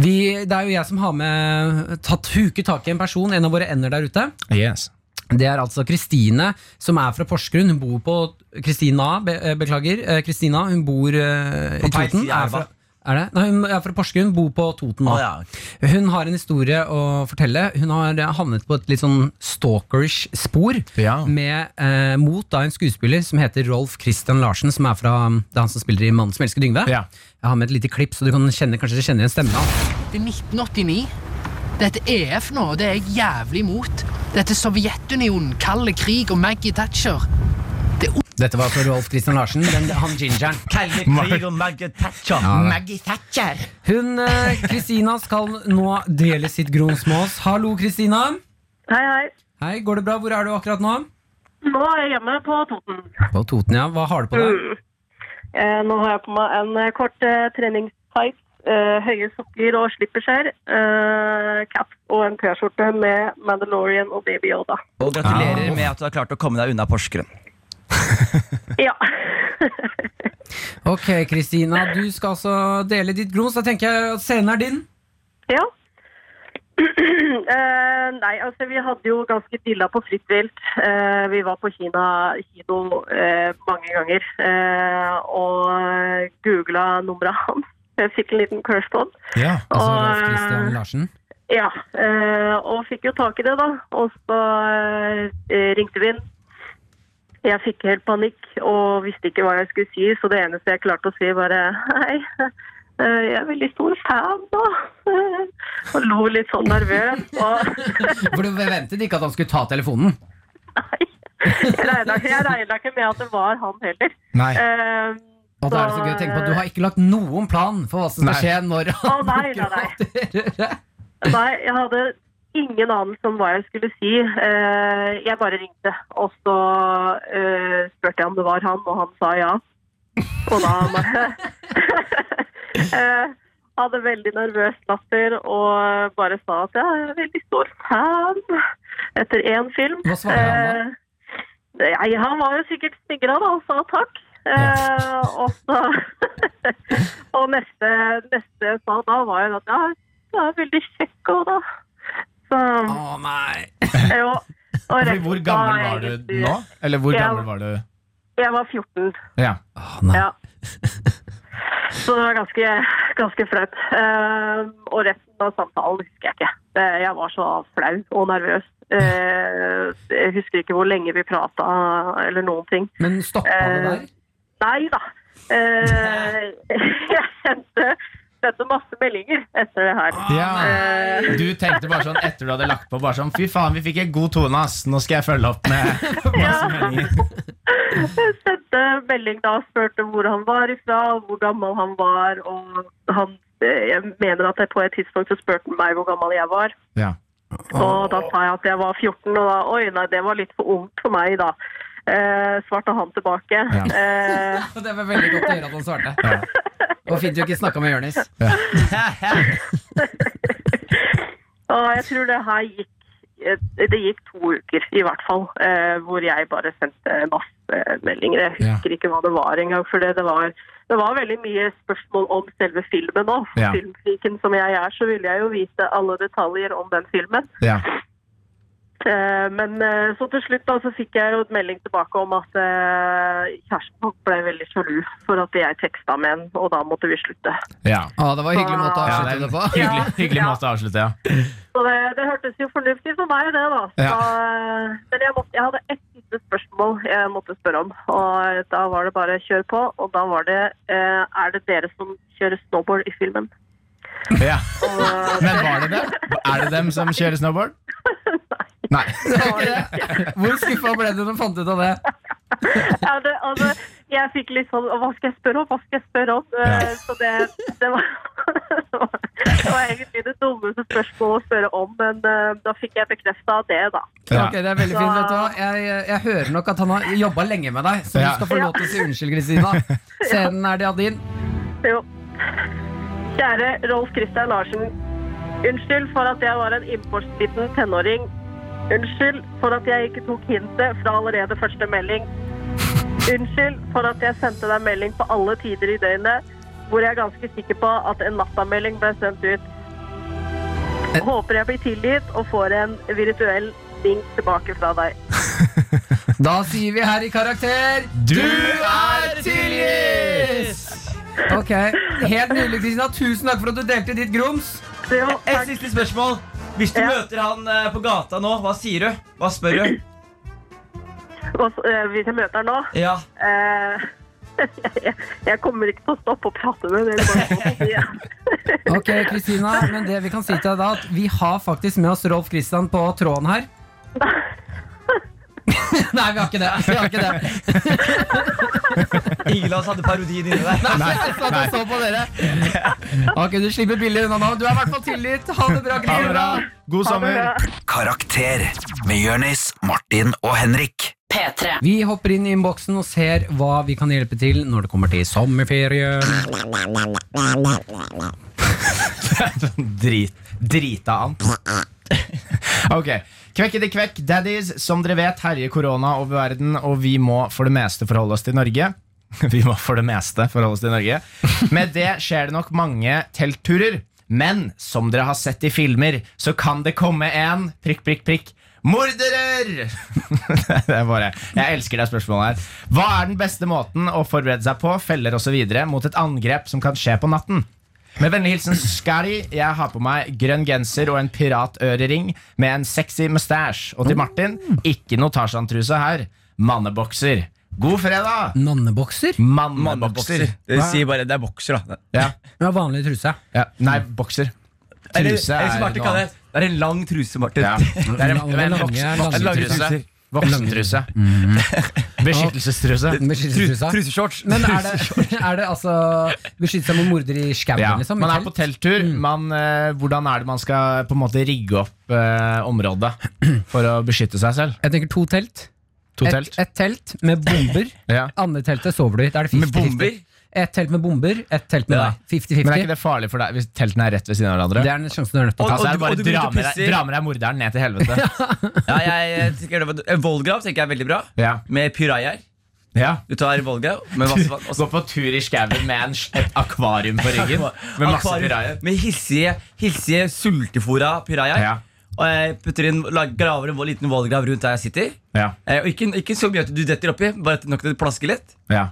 Vi, det er jo jeg som har med tatt huket tak i en person, en av våre ender der ute.
Yes.
Det er altså Kristine, som er fra Porsgrunn. Hun bor på Kristina, be, eh, beklager. eh, Kristina, hun bor eh, i
feil
Toten.
side av
Er fra, er det? Nei, hun er fra Porsgrunn, bor på Toten nå.
Å, ja.
Hun har en historie å fortelle. Hun har eh, havnet på et litt sånn stalkerish spor
Ja.
med, eh, mot da, en skuespiller som heter Rolf Christian Larsen, som er fra um, det er han som spiller i 'Mannen som elsker Dyngve'.
Ja.
Jeg har med et lite klipp, så du kan kjenne, kanskje dere kjenner igjen stemmen hans.
Det er 1989. Dette EF nå, det er jeg jævlig imot. Dette er Sovjetunionen, kald krig og Maggie Thatcher. Det er
Dette var fra Rolf Christian Larsen. Den, han gingeren.
Mark-
Hun eh, Kristina skal nå dele sitt grums med oss. Hallo, Kristina.
Hei, hei.
Hei, går det bra? Hvor er du akkurat nå?
Nå er jeg hjemme på Toten.
På Toten, ja. Hva har du på
Mm.
deg?
Eh, nå har jeg på meg en eh, kort eh, treningstights, eh, høye sokker og slipperskjær, eh, caps og en T-skjorte med Mandalorian og Baby Yoda.
Og gratulerer med at du har klart å komme deg unna Porsgrunn.
Ja.
Ok, Kristina. Du skal altså dele ditt grums. Da tenker jeg at scenen er din.
ja. eh, nei, altså vi hadde jo ganske dilla på fritt vilt. Eh, vi var på Kina kino eh, mange ganger eh, og googla nummeret hans. Jeg fikk en liten crush på han.
Ja.
Altså
Og,
Rolf
eh,
Christian Larsen.
Ja, eh, og fikk jo tak i det da. Og så eh, ringte vi inn. Jeg fikk helt panikk og visste ikke hva jeg skulle si, så det eneste jeg klarte å si var eh, hei, eh, jeg er veldig stor fan da. Og lo litt sånn nervøs. Og
For du ventet ikke at han skulle ta telefonen?
jeg regna ikke, jeg regnet ikke med at det var han heller.
Nei.
Eh,
Og da er det så gøy å tenke på at Du har ikke lagt noen plan for hva som skal
Nei.
skje når
Å
han
nei, nei, nei. Nei, jeg hadde ingen anelse om hva jeg skulle si. Eh, Jeg bare ringte, og så eh, spurte jeg om det var han, og han sa ja. Og da bare Eh, Hadde veldig nervøs latter og bare sa at jeg er veldig stor fan etter én film.
Hva svarer han da?
Eh, Nei, han var jo sikkert smigra da, og sa takk. Eh, og så Og neste, neste jeg sa da, var jo at ja, det er veldig kjekk òg, da. Så
Å nei.
jo.
Fordi
Og
Ah. Hvor
resten
gammel
var
var du
egentlig-
nå? Eller hvor
Ja.
gammel var du?
Jeg var 14.
Ja.
Å, nei.
Ja. Så det var ganske, ganske flaut. Ehm, og resten av samtalen husker jeg ikke. Eh, Jeg var så flau og nervøs. Eh, Jeg husker ikke hvor lenge vi prata eller noen ting.
Men stoppa det der?
Nei da. Eh, Jeg sendte, sendte masse meldinger etter det her.
Ja.
Eh,
Du tenkte bare sånn etter du hadde lagt på, bare sånn fy faen, vi fikk en god tone, ass. Nå skal jeg følge opp med
Jeg sendte melding da og spurte hvor han var ifra, og hvor gammel han var. Og han, eh, jeg mener at jeg på et tidspunkt så spurte han meg hvor gammel jeg var.
Ja.
Og da sa jeg at jeg var 14, og da oi, nei, det var litt for ungt for meg da. Eh, svarte han tilbake. Eh,
Og Det var veldig godt å høre at han svarte. Og fint du ikke snakka med Jonis.
og jeg tror det her gikk eh, det gikk to uker, i hvert fall, eh, hvor jeg bare sendte masse meldinger. Jeg husker ikke hva det var engang, for det, det, var, det var veldig mye spørsmål om selve filmen òg.
Ja.
Filmfriken som jeg er, så ville jeg jo vite alle detaljer om den filmen.
Ja.
Eh, Men eh, så til slutt da, så fikk jeg jo et melding tilbake om at eh, kjæresten hans ble veldig sjalu for at jeg teksta med en, og da måtte vi slutte.
ja.
Å, Ah, det var en hyggelig måte å
Ja, det
avslutte
er
det
en
på.
hyggelig, hyggelig måte å avslutte, ja.
Så det, det hørtes jo fornuftig for meg, det, da.
Ja.
Så, eh, men jeg, måtte, jeg hadde ett lite spørsmål jeg måtte spørre om, og da var det bare kjør på. Og da var det eh, Er det dere som kjører snowboard i filmen?
ja.
Og, eh,
Men var det dem? Er det dem som kjører snowboard? Nei.
Hvor skuffa ble du når du fant ut av det?
ja, det, altså, jeg fikk litt sånn Hva skal jeg spørre om? Hva skal jeg spørre om? Eh, Så det, det, var, det var- det var egentlig det dummeste spørsmålet å spørre om, men eh, da fikk jeg bekrefta det, da.
Ja.
Ok, det er veldig fint, vet du hva. Jeg, jeg hører nok at han har jobba lenge med deg, så du
Ja.
skal få lov til å si unnskyld, Kristina. Scenen er det av din.
Jo. Kjære Rolf Christian Larsen. Unnskyld for at jeg var en importsliten tenåring. Unnskyld for at jeg ikke tok hintet fra allerede første melding. Unnskyld for at jeg sendte deg melding på alle tider i døgnet, hvor jeg er ganske sikker på at en nattamelding ble sendt ut. Håper jeg blir tilgitt og får en virtuell ding tilbake fra deg.
Da sier vi her i karakter
Du er tilgitt!
Ok, Helt nydelig, Kristina. Tusen takk for at du delte ditt grums.
Så jo,
Et
takk.
siste spørsmål. Hvis du
Ja.
møter han eh, på gata nå, hva sier du? Hva spør du?
Og så, eh, Hvis jeg møter deg nå
Ja.
Eh, jeg, jeg kommer ikke til å stoppe å prate med dere. Bare sånn å si, ja.
Ok, Kristina, men det Vi kan si til deg da at vi har faktisk med oss Rolf Kristian på tråden her. Nei, vi har ikke det. Vi har ikke det.
Ingen av oss hadde parodien inni der.
Nei, jeg satt og så på dere. Ok, du slipper billig unna nå. Du er i hvert fall tilgitt. Ha det bra, Kristina.
God sommer.
Karakter med Jørnis, Martin og Henrik.
Vi hopper inn i innboksen og ser hva vi kan hjelpe til når det kommer til sommerferie.
Drit, drita an. Ok. Kvekk i det kvekk, daddies. Som dere vet, herjer korona over verden, og vi må for det meste forholde oss til Norge. Vi må for det meste forholde oss til Norge. Med det skjer det nok mange teltturer. Men som dere har sett i filmer, så kan det komme en prikk, prikk, prikk morderer! det er bare, Jeg elsker det spørsmålet her. Hva er den beste måten å forberede seg på, feller osv. mot et angrep som kan skje på natten? Med vennlig hilsen Skari. Jeg har på meg grønn genser og en piratørering med en sexy mustache. Og til Martin, ikke noe Tarzan-truse her. Mannebokser. God fredag!
Nonnebokser?
Mannebokser.
Det sier bare det er bokser, da.
Ja.
Med vanlig truse.
ja. Nei, bokser.
Eller,
Truse
eller
er
som Martin
noe
kaller
annet.
det, det er en lang truse, Martin.
Ja. Det er en, det er en voks,
Lange, lange
voksentruse.
truser.
Voksentruse. Mm. Beskyttelsestruse.
Beskyttelsestrusa.
Truseshorts.
Men er det, er det altså beskytte seg mot morder i skauen,
Ja.
liksom? i
Man er
telt?
på telttur. Man, eh, hvordan er det man skal på en måte rigge opp eh, området for å beskytte seg selv?
Jeg tenker to telt.
To
et,
telt.
et telt med bomber.
Ja.
Andre teltet sover du i. Da er det 50-50.
Med bomber?
Et telt med bomber, et telt med
Ja.
deg.
Men er ikke
50-50.
det farlig for deg hvis teltene er rett ved siden av hverandre?
Det er den sjansen du er nødt til å ta.
altså,
og
er
du-
det
og
bare
du går ut
dra
og
med deg-
pisser.
dra med deg morderen ned til helvete.
Ja, jeg, jeg, tenker det var- eh, Volgrav tenker jeg er veldig bra.
ja.
Med pyraier.
Ja.
Du tar Volgrav med masse vann. og så-
Gå på tur i skauen med en, et akvarium på ryggen. Med masse
akvarium
pirajaer.
Med hissige, hissige sultefora pyraier.
Ja.
Og jeg putter inn, lag- graver en vo- liten vollgrav rundt der jeg sitter.
Ja.
Eh, Og ikke, ikke så mye at du detter oppi, bare at nok til det plasker litt.
Ja.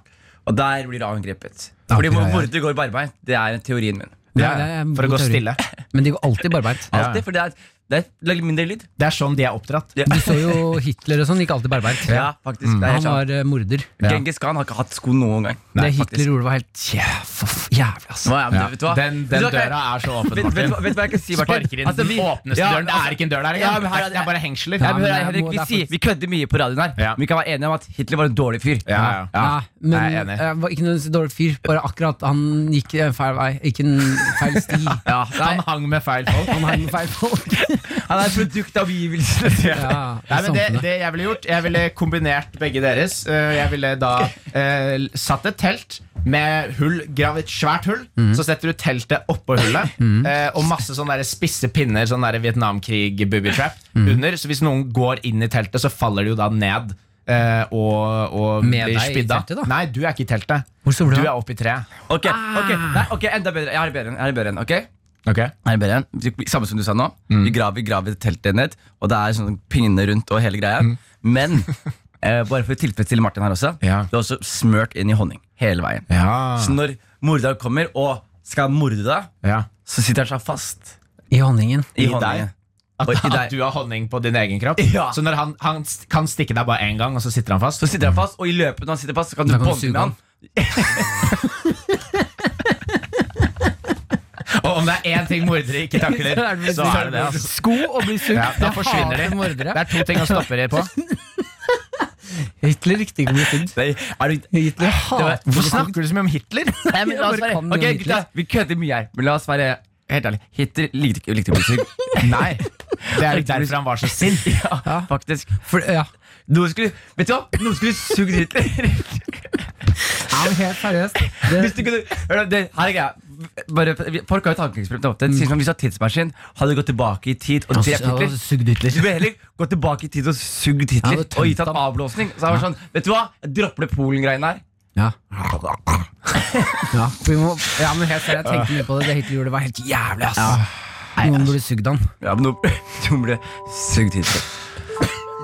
Og der blir du angrepet.
Ja,
Fordi
pyraier.
morder går barbeint. Det er teorien min.
Nei,
Ja,
det er en
for å
god
gå
teori.
stille.
Men de går alltid barbeint.
Ja.
Alltid, for det er, det er det er mindre lyd.
Det er sånn de er oppdratt.
Ja,
Du så jo Hitler og sånn, gikk alltid barbeint.
ja faktisk. Det er helt
Han
sant.
var eh, morder.
Mm. Ja.
Genghis Khan har ikke hatt sko noen gang.
det Hitler
faktisk.
gjorde, var helt jæv- for- jævlig, ass.
Hva, ja, men,
altså. Ja.
Vet du hva?
Den,
Vet
den
du hva,
døra er så åpen,
Vet, vet, du
Martin.
hva- vet du hva jeg kan si, Martin?
Sparker inn
Altså, vi-
den åpneste
Ja,
døren. Det
altså-
er ikke en dør
Ja,
der engang.
men her er
det er bare hengsler.
Ja,
men
men hør her,
det
Henrik,
må-
vi,
det er
sier,
faktisk-
vi kødder mye på radioen her,
Ja.
men vi kan være enige om at Hitler var en dårlig fyr.
Ja, ja.
Ja, men
Jeg er enig.
jeg var ikke noen så dårlig fyr. Bare akkurat han gikk eh, feil vei. Ikke en feil sti.
Ja,
Han
nei,
hang med feil folk.
Han hang med feil folk.
han er et produkt av omgivelsene.
Ja, sånn. i
Nei, men det,
samfunnet.
det jeg ville gjort Jeg ville kombinert begge deres. Eh, Jeg ville da eh, satt et telt med hull, grav et svært hull.
Mhm.
Så setter du teltet oppå hullet, eh, og masse sånne der spisse pinner, sånn der Vietnamkrig-booby-trap,
Mhm.
under. Så hvis noen går inn i teltet, så faller de jo da ned. eh, og, og
Med
blir
deg i
spidda.
teltet, da?
Nei, du er ikke i teltet.
Hvor sover
Du
du? da?
er oppi treet.
Ok, ok, nei, ok, enda bedre. Jeg har bedre enn, jeg har bedre enn, ok? Jeg har bedre enn. Samme som du sa nå. Vi graver, graver teltet ned, og det er sånn pinne rundt og hele greia. Men, eh, bare for å tilfredsstille Martin her også,
Ja.
det er også smørt inn i honning hele veien.
Ja.
Så når morderen kommer og skal morde deg,
ja.
så sitter han seg fast
I honningen.
i,
I
honningen.
deg? At,
Og i deg.
at du har honning på din egen kropp?
Ja.
Så når han, han st- kan stikke deg bare én gang, og så sitter han fast?
Så sitter han fast, og i løpet når han sitter fast, så kan du
Da kan du
bonde
suge
med han.
Og om det er én ting mordere ikke takler, så er det det. Altså.
Sko og bli sugd.
Ja, da
Jeg
forsvinner de.
hater mordere.
Det er to ting å stoppe dem på.
Hitler riktig god sugd.
Nei, er du...
Hitler hater
Hvorfor snakker du så mye om Hitler?
Nei, men la oss
Bare
være
kan
Ok,
noe
gutta, vi kødder mye her, men la oss være helt ærlig. Hitler likte ikke likte å bli sugd.
Nei, Det er jo derfor han var så sint.
Ja, faktisk.
For, ja.
Noen skulle, vet du hva? Noen skulle sugd Hitler.
Ja, men helt seriøst. Det,
Hvis du kunne, hør da, det, her er greia. Bare, vi- folk har jo tankeeksperiment ofte. Det sier som om Hvis du har tidsmaskin, hadde gått tilbake i tid og drept Hitler.
sugd
Du
Hitler.
bør heller gå tilbake i tid og sugd
Ja,
Hitler
det tømte
og gitt han
han.
avblåsning. Så han var sånn, vet du hva? Jeg dropper det Polen-greiene her.
Ja. Ja, vi må, ja, men helt seriøst, jeg tenkte mye på det. Det Hitler gjorde, var helt jævlig, ass. Noen burde sugd han.
Ja, men nå nå ble det sugd Hitler.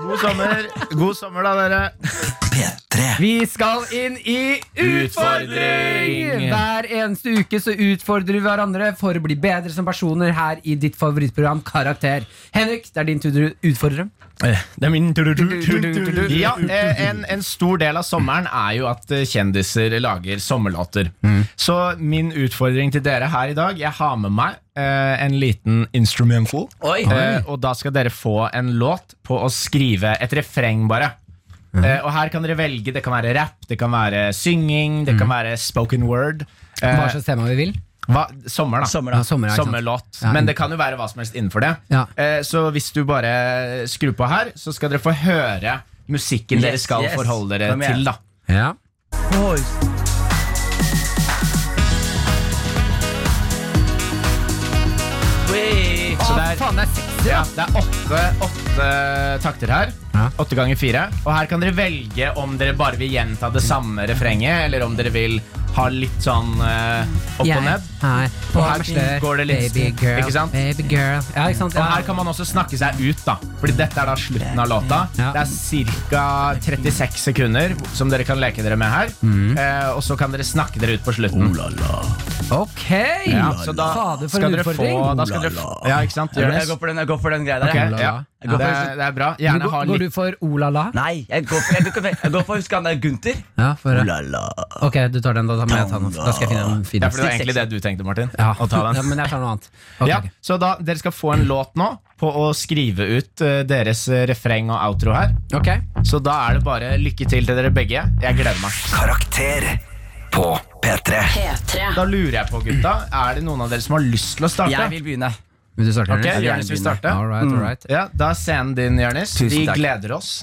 God sommer, God sommer da, dere.
P3.
Vi skal inn i utfordring!
Utfordring!
Hver eneste uke så utfordrer vi hverandre for å bli bedre som personer her i ditt favorittprogram Karakter. Henrik, det er din tur til å utfordre.
Det er min Ja, eh, en, en stor del av sommeren er jo at eh, kjendiser lager sommerlåter. Så min utfordring til dere her i dag Jeg har med meg eh, en liten instrumental. Eh, og da skal dere få en låt på å skrive et refreng, bare. Eh, og her kan dere velge. Det kan være rap, det kan være synging, det kan være spoken word. Eh,
Hva slags tema vi vil.
hva, sommer,
da.
da.
Ja, sommer, ja, ikke sant.
Sommerlåt.
Ja,
Men det kan jo være hva som helst innenfor det.
Ja.
Eh, så hvis du bare skrur på her, så skal dere få høre musikken dere
Yes,
skal
yes.
forholde dere
Kom igjen.
til. da
Ja.
Så det er, ja, det er åtte, åtte takter her. Åtte ganger fire. Og her kan dere velge om dere bare vil gjenta det samme refrenget, eller om dere vil ha litt sånn eh, opp og ned.
Her,
Og her går det litt
Baby girl,
Ikke sant?
baby girl. Ja, ikke sant?
Og her kan man også snakke seg ut, da. Fordi dette er da slutten av låta. Det er ca. 36 sekunder som dere kan leke dere med her. Eh, og så kan dere snakke dere ut på slutten.
Ok!
Ja, så da
Fader, for
skal
en
dere
utfordring.
få- da skal dere få- Ja, ikke sant? Gjør det.
Jeg går for den, jeg går for den greia der.
Ok,
jeg.
ja.
Jeg går
Det,
for-
er- det er bra.
Men
Gjerne
går,
ha
går
litt
du for olala?
Nei, jeg går for, jeg, går for- jeg går for husker han der Gunther.
Ja, for,
Olala.
ok, du tar den, da. Da, må jeg ta den. da skal jeg finne en fin
Ja, for det var egentlig det du tenkte, Martin. Å ta den.
Ja, men jeg tar noe annet.
ja, så da, dere skal få en låt nå på å skrive ut eh, deres eh, refreng og outro her. Så da er det bare lykke til til dere begge. Jeg gleder meg.
Karakter på P3.
Da lurer jeg på, gutta, er det noen av dere som har lyst til å starte?
Jeg vil begynne.
Vil du starte?
Ok,
Jonas?
Jonis vil starte. Mm.
All right, all right.
Ja, da er scenen din, Jonis.
Tusen
Vi
takk.
gleder oss.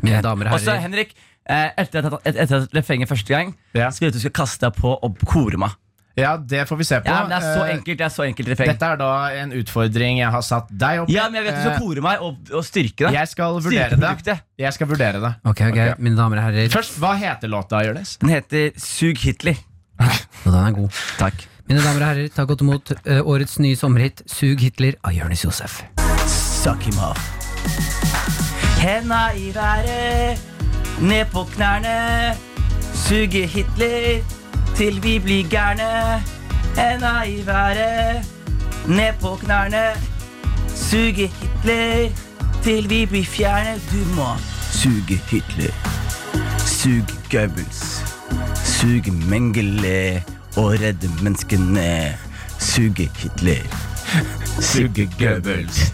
Mine damer og
Og så,
herrer.
Henrik, eh, etter at et- etter at refrenget første gang, skal jeg ut og skal kaste deg på og kore meg.
Ja, det får vi se på.
Ja, men det er så
Eh,
enkelt, det er så enkelt refreng.
Dette er da en utfordring jeg har satt deg opp i.
Ja, men jeg vet du skal kore meg og, og styrke
Eh,
deg.
Jeg skal vurdere det.
Styrkeproduktet.
Jeg skal vurdere det.
Ok, ok, mine damer og herrer.
Først, hva heter låta, Jonis?
Den heter Sug Hitler.
Og den er god.
Takk.
Mine damer og herrer, ta godt imot eh, årets nye sommerhit 'Sug Hitler' av Jonis Josef.
Suck him off. Henda i været, ned på knærne. Suge Hitler til vi blir gærne. Henda i været, ned på knærne. Suge Hitler til vi blir fjerne. Du må suge Hitler. Sug Goebbels. Sug Mengele og redde menneskene. Suge Hitler. Suge Goebbels.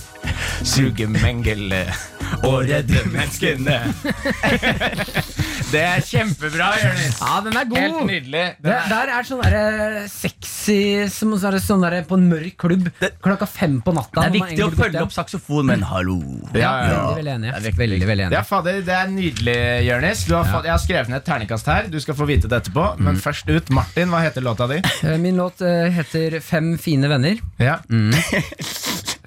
Suge Mengele og redde menneskene. det er kjempebra, Jonis.
Ja, den er god!
Helt nydelig.
Det
Den er-
der er sånn derre sexy som sånn derre- sånn derre på en mørk klubb klokka fem på natta.
Det er
når man
viktig å
egentlig burde
følge
gått
opp saksofon, men hallo.
hjem. Ja,
Ja, ja.
Veldig, veldig enig. Veldig, veldig enig.
Ja, fader, Det er nydelig, Jonis. Du har fått- Jeg har skrevet ned et terningkast her. Du skal få vite det etterpå.
Mm.
Men først ut, Martin, hva heter låta di?
Eh, Min låt eh, heter Fem fine venner.
Ja.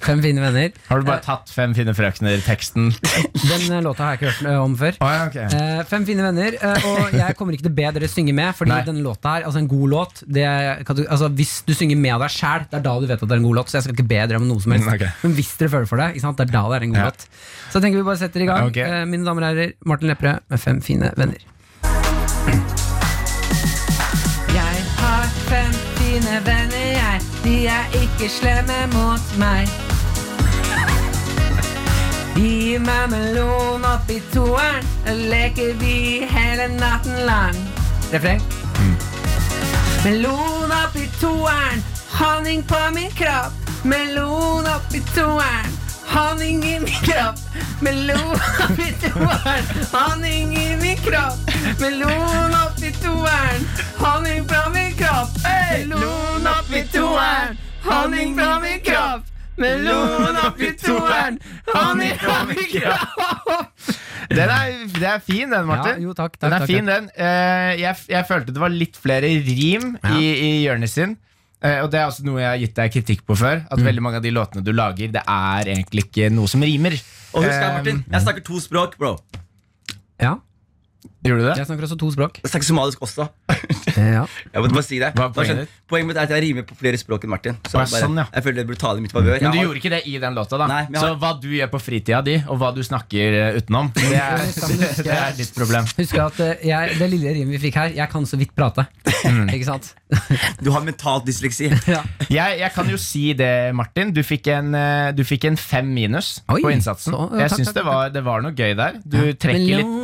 Fem fine venner.
Har du
Eh.
bare tatt Fem fine frøkner-teksten?
Den eh, låta har jeg ikke hørt eh, om før.
Å, ja, ok.
Eh, fem fine venner, eh, og jeg kommer ikke til å be dere synge med, fordi
Nei.
denne låta her, altså en god låt det er, kan du- altså Hvis du synger med deg sjæl, det er da du vet at det er en god låt. Så jeg skal ikke be dere om noe som helst.
Mm, ok.
Men hvis dere føler for det, ikke sant? det er da det er en god
Ja.
låt. Så jeg tenker vi bare setter i gang.
Ok.
Eh, mine damer og herrer, Martin Lepperød med Fem fine venner. Jeg har fem fine venner, jeg. De er ikke slemme mot meg. De gir meg melon oppi toeren, da leker vi hele natten lang. Refreng. Melon oppi toeren, honning på min kropp. Melon oppi toeren, honning i min kropp. Melon oppi toeren, honning i min kropp. Melon oppi toeren, honning fra min kropp. Melon oppi toeren, honning fra min kropp. Melon oppi toeren, honning fra min kropp.
Den er, det er fin, den, Martin.
Ja, jo, takk, takk,
den er
takk,
fin, den. Eh, jeg, jeg følte det var litt flere rim i, i Jonis sin. Eh, og det er også noe jeg har gitt deg kritikk på før. At veldig mange av de låtene du lager, det er egentlig ikke noe som rimer.
Og husk her,
Eh,
Martin, jeg snakker to språk, bro.
Ja,
Gjorde du det?
jeg snakker også to språk.
Jeg snakker somalisk også.
Ja.
Jeg måtte bare si det.
Hva er poenget
Altså, poenget mitt er at jeg rimer på flere språk enn Martin. Så
Å, ja,
jeg, bare,
sånn, ja.
jeg føler det burde ta det i mitt favør.
Men du
Jeg har-
gjorde ikke det i den låta, da.
Nei, men jeg
Så
har-
hva du gjør på fritida di, og hva du snakker eh, utenom, det er, det er ditt problem.
Husk at eh, jeg, det lille rimet vi fikk her, jeg kan så vidt prate. Ikke sant?
Du har mentalt dysleksi.
Mm. Ja.
Jeg, jeg kan jo si det, Martin. Du fikk en, eh, du fikk en fem minus
Oi,
på innsatsen.
så- ja,
jeg
takk,
syns
takk,
det,
takk.
var- det var noe gøy der. Du trekker litt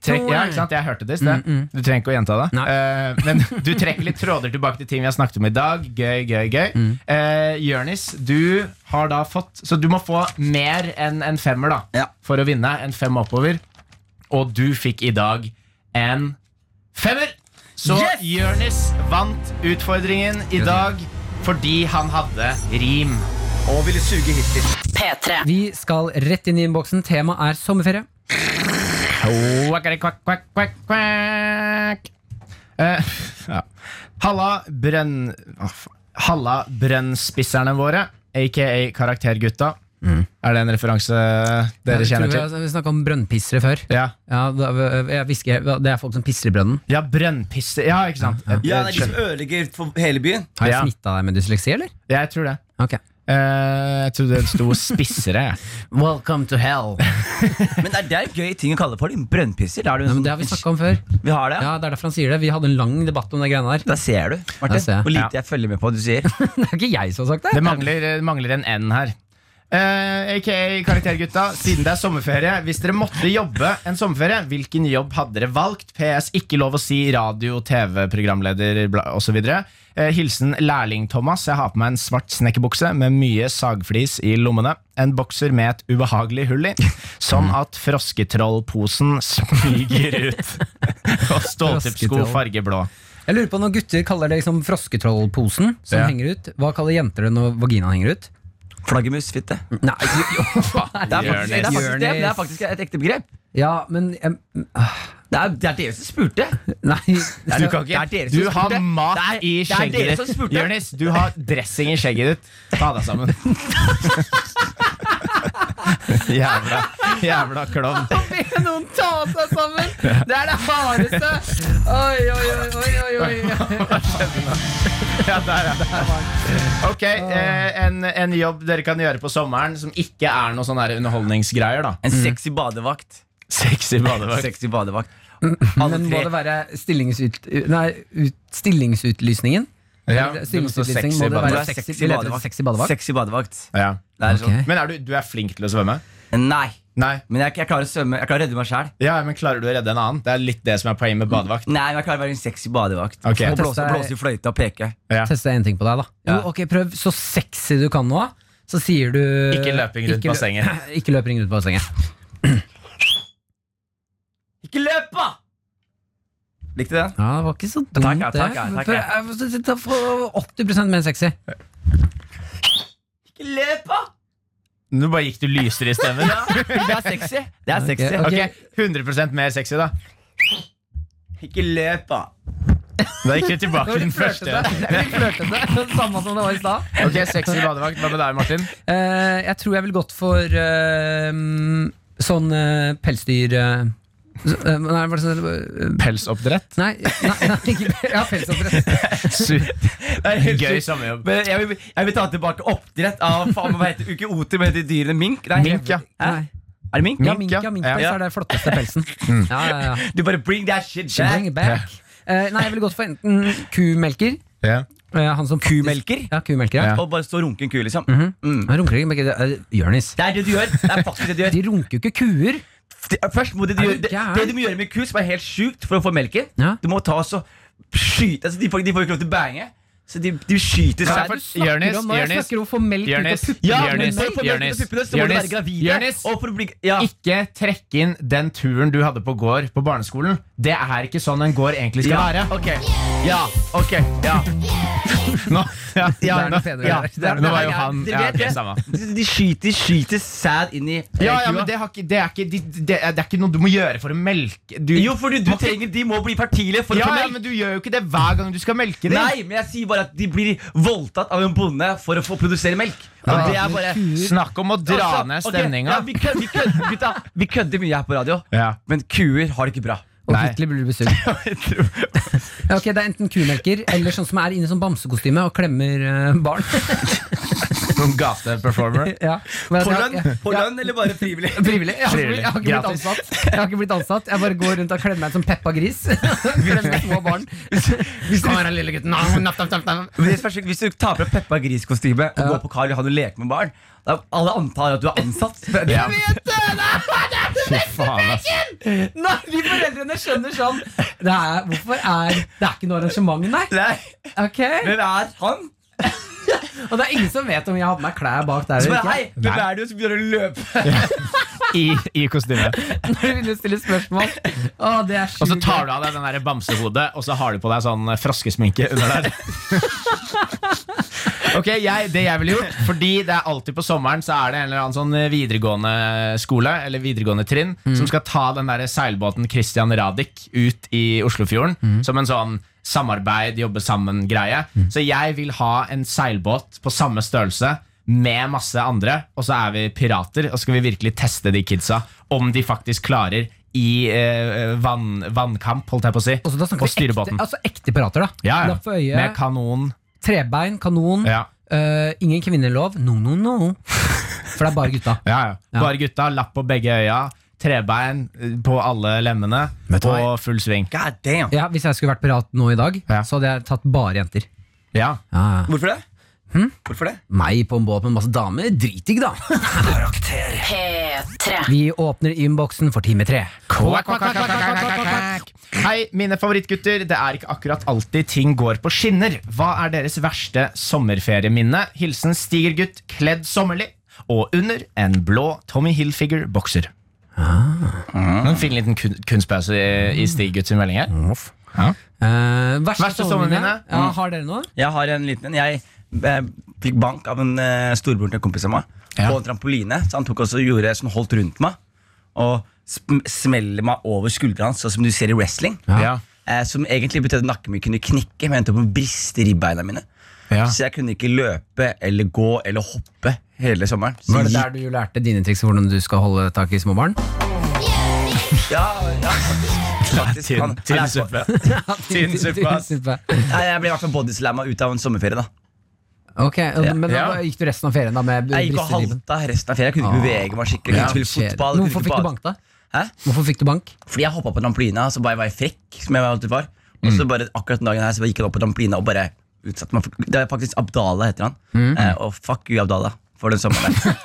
Trekk, ja, ikke sant? Jeg hørte det i sted. Du trenger ikke å gjenta det.
Nei.
Eh, men du trekker litt tråder tilbake til ting vi har snakket om i dag. Gøy, gøy, gøy. Eh, Jørnis, du har da fått Så du må få mer enn en femmer da
Ja.
for å vinne. En fem oppover. og du fikk i dag en femmer. Så
Yes!
Jonis vant utfordringen i dag fordi han hadde rim. Og ville suge hittil.
P3. Vi skal rett inn i innboksen. Temaet er sommerferie.
Eh, ja. Halla brenn... Å, faen. Halla brennspisserne våre, aka Karaktergutta. Er det en referanse
Jeg
dere
altså. tror
kjenner
vi
til?
har- Vi snakka om brønnpissere før.
Ja.
da- jeg hvisker, det er folk som pisser i brønnen.
Ja, brennpisser. Ja, ikke sant. Eh,
Ja,
Jeg-
det
jeg
er de som
skjønner.
ødelegger for hele byen.
Har jeg
Ja.
smitta deg med dysleksi, eller?
Jeg tror det.
Ok
Eh, jeg trodde det sto spissere.
Welcome to hell.
Men det er, det er en gøy ting å kalle for din brønnpisser. Da er det,
Ja, men
en sånn,
det har vi snakka om før.
vi har det.
Ja, Det er derfor han sier det. Vi hadde en lang debatt om de greiene der.
Da ser du,
Da
Martin,
ser jeg.
hvor lite jeg følger med på hva du sier.
Det er ikke jeg som har sagt det.
Det mangler, det mangler en N her. Eh, AKA Karaktergutta, siden det er sommerferie, hvis dere måtte jobbe en sommerferie, hvilken jobb hadde dere valgt? PS, ikke lov å si radio, TV, programleder bla- og så videre Eh, hilsen Lærling-Thomas. Jeg har på meg en svart snekkerbukse med mye sagflis i lommene. En bokser med et ubehagelig hull i, sånn at frosketrollposen smyger ut. Og ståltippsko
Frosketroll.
fargeblå.
Jeg lurer på Når gutter kaller det liksom frosketrollposen, som
Ja.
henger ut, hva kaller jenter det når vaginaen henger ut?
Flaggermusfitte.
Nei, jo, jo.
Det er faktisk, det er faktisk, det, men det er
Jonis.
faktisk et ekte begrep.
Ja, men jeg,
Det er, det er dere som spurte.
Nei.
Du, kan ikke.
Altså, Det er dere som
du har
spurte.
mat
Det er-
i
det er dere
skjegget
som
ditt.
spurte.
Jonis, du har dressing i skjegget ditt. Ta deg sammen. jævla, jævla klovn.
Noen ta seg sammen! Det er det hardeste! Oi, oi, oi, oi, oi.
Ja, der, ja, der. Ok, eh, en, en jobb dere kan gjøre på sommeren som ikke er noe sånn her underholdningsgreier, da.
Mm.
Mm.
En sexy badevakt.
Sexy badevakt.
Sexy badevakt.
Mm. Men må det være stillingsyt, nei, ut, stillingsutlysningen?
Ja,
Eller
det må stå
Stillingsutlysning
sexy
må det være
badevakt.
sexy, vi leter etter sexy badevakt.
Sexy badevakt.
Ja.
Det er
Ok.
Men er du, du er flink til å svømme?
sånn. Nei,
Nei.
men jeg, jeg klarer å svømme. Jeg klarer å redde meg sjæl.
Ja, men Klarer du å redde en annen? Det er litt det som er poenget med badevakt.
Nei, men jeg klarer å være en sexy badevakt.
Ok.
Og blåse, blåse i fløyta og peke.
Ja.
Teste en ting på deg, da. Jo,
Ja.
ok, Prøv så sexy du kan nå. Så sier du
Ikke løping rundt
Ikke lø-
bassenget.
Ikke løping rundt bassenget.
Ikke løp, da! Likte du den?
Ja, det var ikke så dumt,
ja, takk, ja, takk, ja.
det. Takk, takk. 80 mer sexy.
Ikke løp, da!
Nå bare gikk du lysere i stemmen.
Det er sexy. Det er sexy.
Ok.
Ok, 100 mer sexy, da.
Ikke løp, da.
Da gikk du tilbake til den første.
Flørtete. Samme som det var i stad.
Ok, sexy badevakt. Hva med deg, Martin?
Eh, jeg tror jeg ville gått for eh, mm, sånn eh, pelsdyr... eh, så, eh, nei, hva er det som heter?
Pelsoppdrett?
Nei, nei, nei ikke, ja, pelsoppdrett.
Gøy sommerjobb.
Men jeg, vil, jeg vil ta tilbake oppdrett av faen, hva heter det? Ikke oter, men heter dyrene mink? Nei.
Mink, ja.
Hæ? Er det mink?
Ja,
Mink,
mink,
ja.
ja, minkpels
Ja.
er det flotteste pelsen. Ja, ja, ja.
Du bare bring that shit
Bring
back.
it back. Eh, nei, jeg ville gått for enten kumelker.
Ja.
eh, han som faktisk-
Kumelker?
Ja, kumelker, ja. Mhm.
Ja.
Og bare stå og runke en ku, liksom. mm.
Han runker ikke, men ikke det er Jonis.
Det er det du gjør. Det er faktisk det du gjør.
eh, De runker jo ikke kuer.
Det- Først må det du,
Er du
gjøre, det,
gæren?
det du må gjøre med ku, som er helt sjukt for å få melken
Ja.
Du må ta og så skyte altså, de, får, de får ikke lov til å bange, så de, de skyter
Kan
seg.
jeg få-
Du snakker
Jonis,
om nå, jeg
Jonis,
snakker om å få melk ut av
Jonis,
puppene.
Ja,
men
Jonis,
men for å få melken ut
Jonis,
av puppene, så må de
Jonis,
være gravide.
Jonis.
og for å bli, ja.
Ikke trekk inn den turen du hadde på gård på barneskolen. Det er ikke sånn en gård egentlig skal
ja,
være.
ok, ja, ok, ja.
Nå, ja, ja,
Det er noe
nå,
fedre
ja,
der. Det
det
er
er- nå var jo han
Dere
ja,
vet
ok,
det.
samme.
De- De skyter, skyter sæd inn i eh,
Ja, ja, men
kua.
det, har ikke, det, er ikke, de- det, er, det er ikke noe du må gjøre for å melke du,
Jo, fordi du
Må ikke-
trenger De må bli fertile for å
ja,
få
ja,
melk.
men du gjør jo ikke det hver gang du skal melke dem.
Nei, men jeg sier bare at de blir voldtatt av en bonde for å få produsere melk. Og
Ja.
det er bare
Snakk om å dra
Altså,
ned
ok,
stemninga.
ja, vi, kød, vi, kød, gutta, vi kødder mye her på radio,
Ja.
men kuer har det ikke bra.
Og
Nei.
plutselig blir du besugd. Ja, ok, det er enten kumelker eller sånn som er inne i sånn bamsekostyme og klemmer eh, barn.
Noen gateperformer.
ja. Men
På
jeg-
lønn,
jeg-
på
ja,
lønn eller bare frivillig?
Frivillig. Jeg har, ikke, blitt- jeg, har ikke blitt
Gratis.
ansatt. jeg har ikke blitt ansatt. Jeg bare går rundt og klemmer meg som Peppa Gris. Klemmer små barn. Kom her, lille gutten. Napp, napp, napp, napp.
Men det er spørsmål, Hvis du tar på deg Peppa Gris-kostyme og går på Karl Johan og leker med barn, da alle antar at du er ansatt.
Ja. Fy faen, ass.
Nei, de foreldrene skjønner sånn. Det er, hvorfor er Det er ikke noe arrangement, nei.
Nei,
Ok
Hvem er han?
Og det er ingen som vet om jeg hadde med klær bak der.
Så
eller
bare,
ikke.
hei, hvem er du? Og så begynner du å løpe.
I, i kostyme.
Når du begynner å stille spørsmål. Å, det er
Og så tar du av deg den der bamsehodet, og så har du på deg sånn froskesminke under der. Ok, jeg, Det jeg ville gjort Fordi det er alltid på sommeren Så er det en eller annen sånn videregående skole Eller videregående trinn
Mm.
Som skal ta den der seilbåten Christian Radich Ut i Oslofjorden
Mm.
Som en sånn samarbeid, jobbe sammen greie Så jeg vil ha en seilbåt På samme størrelse Med masse andre Og så er vi pirater Og så skal vi virkelig teste de kidsa Om de faktisk klarer i eh, vann, vannkamp, holdt jeg på å si
Og så da snakker
Å
vi
styre
ekte-
båten.
altså ekte pirater, da.
ja,
Lapp for
ja.
øye.
Med kanon
Trebein, kanon,
Ja.
eh, ingen kvinnelov. No, no, no. For det er bare gutta.
Ja, ja. Bare gutta, lapp på begge øya, trebein eh, på alle lemmene og full sving.
Ja, hvis jeg skulle vært pirat nå i dag, så hadde jeg tatt bare jenter.
Ja.
Hvorfor det?
Hm?
Hvorfor det?
Meg på en båt med masse damer? Dritdigg, da!
P3.
Vi åpner innboksen for time tre.
Kvakk, kvakk, kvakk, kvakk, kvakk, kvakk, kvakk. Hei, mine favorittgutter. Det er ikke akkurat alltid ting går på skinner. Hva er deres verste sommerferieminne? Hilsen Stigergutt, kledd sommerlig og under en blå Tommy Hilfiger-bokser. En fin liten kun kunstpause i, i Stigergutt sin melding her. Ja.
Eh, verste, sommerminne? Ja,
Mm.
har dere noe?
Jeg har en liten en. Jeg eh, fikk bank av en eh, storebror til en kompis av meg på en trampoline. Så han tok også og gjorde sånn holdt rundt meg og sm smeller meg over skuldra hans, sånn som du ser i wrestling.
Ja.
Eh, som egentlig betød at nakken min kunne knekke, men endte opp med å briste i ribbeina mine.
Ja.
Så jeg kunne ikke løpe eller gå eller hoppe hele sommeren. Så
Var det
jeg
der du lærte dine triks for hvordan du skal holde tak i små barn?
gikk- Ja, ja. Faktisk, han- han er-
Tynn suppe. Tynn suppe, ass.
Nei, Jeg ble i hvert fall bodyslamma ut av en sommerferie, da.
Ok, eh,
Ja.
Men da
Ja.
gikk du resten av ferien da med
Jeg gikk og
bristeribben?
halta resten av ferien. Jeg kunne
Ah,
ikke bevege meg skikkelig. Jeg kunne ikke spille fotball. jeg
Hvorfor
kunne
fikk
ikke
du
bade.
bank, da?
Hæ?
Hvorfor fikk du bank?
Fordi jeg hoppa på trampolina, så bare var jeg frekk. Som jeg alltid var Og
Mm.
så bare akkurat den dagen her Så bare gikk jeg opp på trampolina og bare utsatte meg. for- Det er faktisk Abdala heter han.
Mm.
Eh, og fuck you, Abdala, for den sommeren der.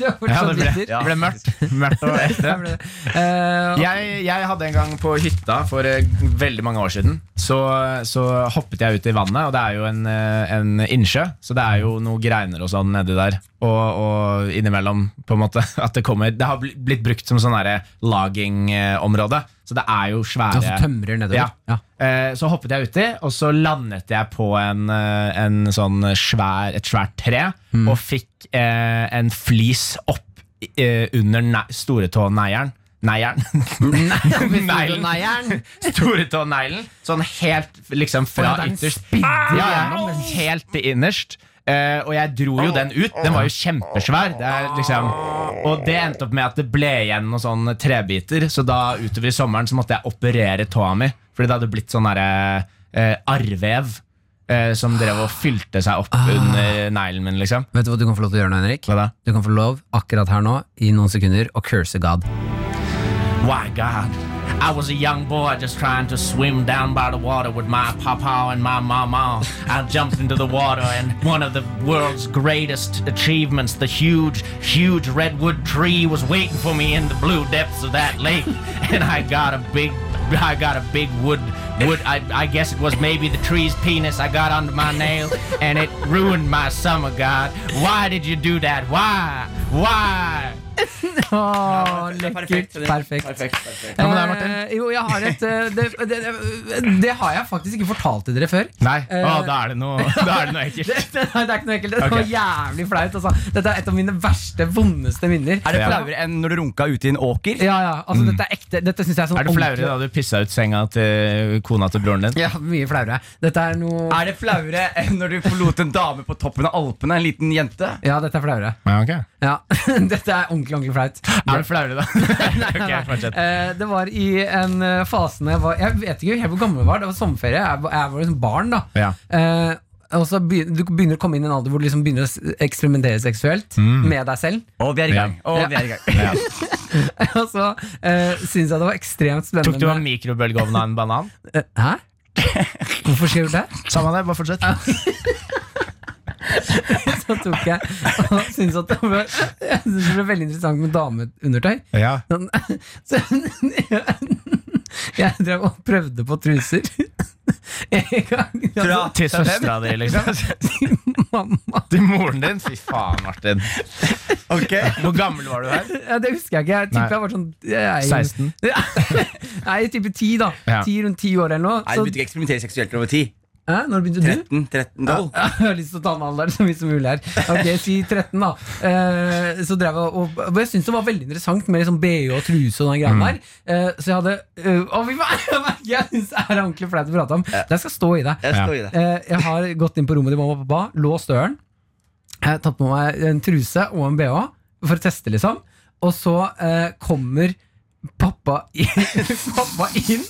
Ja, det ble, det ble mørkt. mørkt og ekte.
Eh,
jeg, jeg hadde en gang på hytta for eh, veldig mange år siden. Så, så hoppet jeg ut i vannet, og det er jo en, eh, en innsjø. Så det er jo noe greiner og sånn nedi der. Og, og innimellom, på en måte. At det kommer Det har bli- blitt brukt som sånn derre lagingområde. Så det er jo svære
Altså tømrer nedover?
Ja. Eh, Så hoppet jeg uti, og så landet jeg på en, eh, en sånn svær, et svært tre.
Mm.
Og fikk eh, en flis opp eh, under ne storetåneieren. Neieren.
Neieren.
Storetåneilen. Sånn helt liksom
Å,
fra
ja, den
ytterst.
spidder
Ja,
gjennom,
ja, helt til innerst. Eh, og jeg dro jo den ut. Den var jo kjempesvær. Det er liksom, og det endte opp med at det ble igjen noen sånne trebiter. Så da utover i sommeren så måtte jeg operere tåa mi. Fordi det hadde blitt sånn derre eh, arrvev eh, som drev og fylte seg opp under neglen min, liksom.
Vet du hva du kan få lov til å gjøre nå, Henrik? Du kan få lov akkurat her nå, i noen sekunder, å curse God.
Why, God? I was a young boy just trying to swim down by the water with my papa and my mama. I jumped into the water, and one of the world's greatest achievements, the huge, huge redwood tree, was waiting for me in the blue depths of that lake. And I got a big, I got a big wood, wood. I, I guess it was maybe the tree's penis. I got under my nail, and it ruined my summer. God, why did you do that? Why? Why?
Åh, lekkert. Perfekt.
Ja, men det er Martin.
Eh, jo, jeg har et eh, det, det, det, det har jeg faktisk ikke fortalt til dere før.
Nei,
Eh,
Å, da er det noe, da er det noe ekkelt.
det, det, nei, det er ikke noe ekkelt. Det var
Ok.
jævlig flaut. Altså. Dette er et av mine verste, vondeste minner.
Er det flauere
enn når du runka ute i en åker?
Ja, ja. Altså, Dette er ekte. Dette synes jeg er sånn
Er det flauere
ordentlig-
da du pissa ut senga til kona til broren din?
Ja, mye flauere. Dette er noe
Er det flauere enn når du forlot en dame på toppen av Alpene? En liten jente?
Ja, dette er flauere.
Ja, ok.
Ja, Dette er ordentlig, ordentlig flaut.
Er det flauere, da?
Nei, nei.
fortsett.
Eh, det var i en eh, fase når jeg var Jeg vet ikke helt hvor gammel jeg var. Det var sommerferie. Jeg var, jeg var liksom barn, da.
Ja.
Eh, og så begyn- Du begynner å komme inn i en alder hvor du liksom begynner å s- eksperimentere seksuelt
Mm.
med deg selv.
Og vi er i gang. Og vi er i gang.
og så uh, syns jeg det var ekstremt spennende.
Tok du av mikrobølgeovnen av en banan?
Eh, Hæ? Hvorfor sier du det?
Samme det, bare fortsett.
så tok jeg og syntes at det ble, jeg syntes det ble veldig interessant med dameundertøy.
Ja.
Sånn, Så jeg drev og prøvde på truser. En gang
Fra- Til
altså,
søstera di, liksom?
Til mamma.
Til moren din? Fy faen, Martin. Hvor gammel var du her?
Ja, det husker jeg ikke. Jeg
Nei.
tipper jeg var sånn jeg,
16?
Nei, jeg tipper 10, da.
Ja.
10 rundt 10 år eller noe.
Nei, du begynte ikke å eksperimentere seksuelt når du var ti.
Hæ? Når begynte du?
13, 13, 12.
Ja, Jeg har lyst til å ta med alderen så mye som mulig her. Ok, Si 13, da. Eh, så drev jeg og, og Jeg syns det var veldig interessant med liksom BH og truse og den greia der. Eh, så jeg hadde eh, å, fy faen, Jeg syns det er ordentlig flaut å prate om. Det skal stå i det.
Jeg står i det.
Eh, jeg har gått inn på rommet til mamma og pappa, låst døren. Jeg har tatt på meg en truse og en BH for å teste, liksom. Og så eh, kommer pappa inn, pappa inn.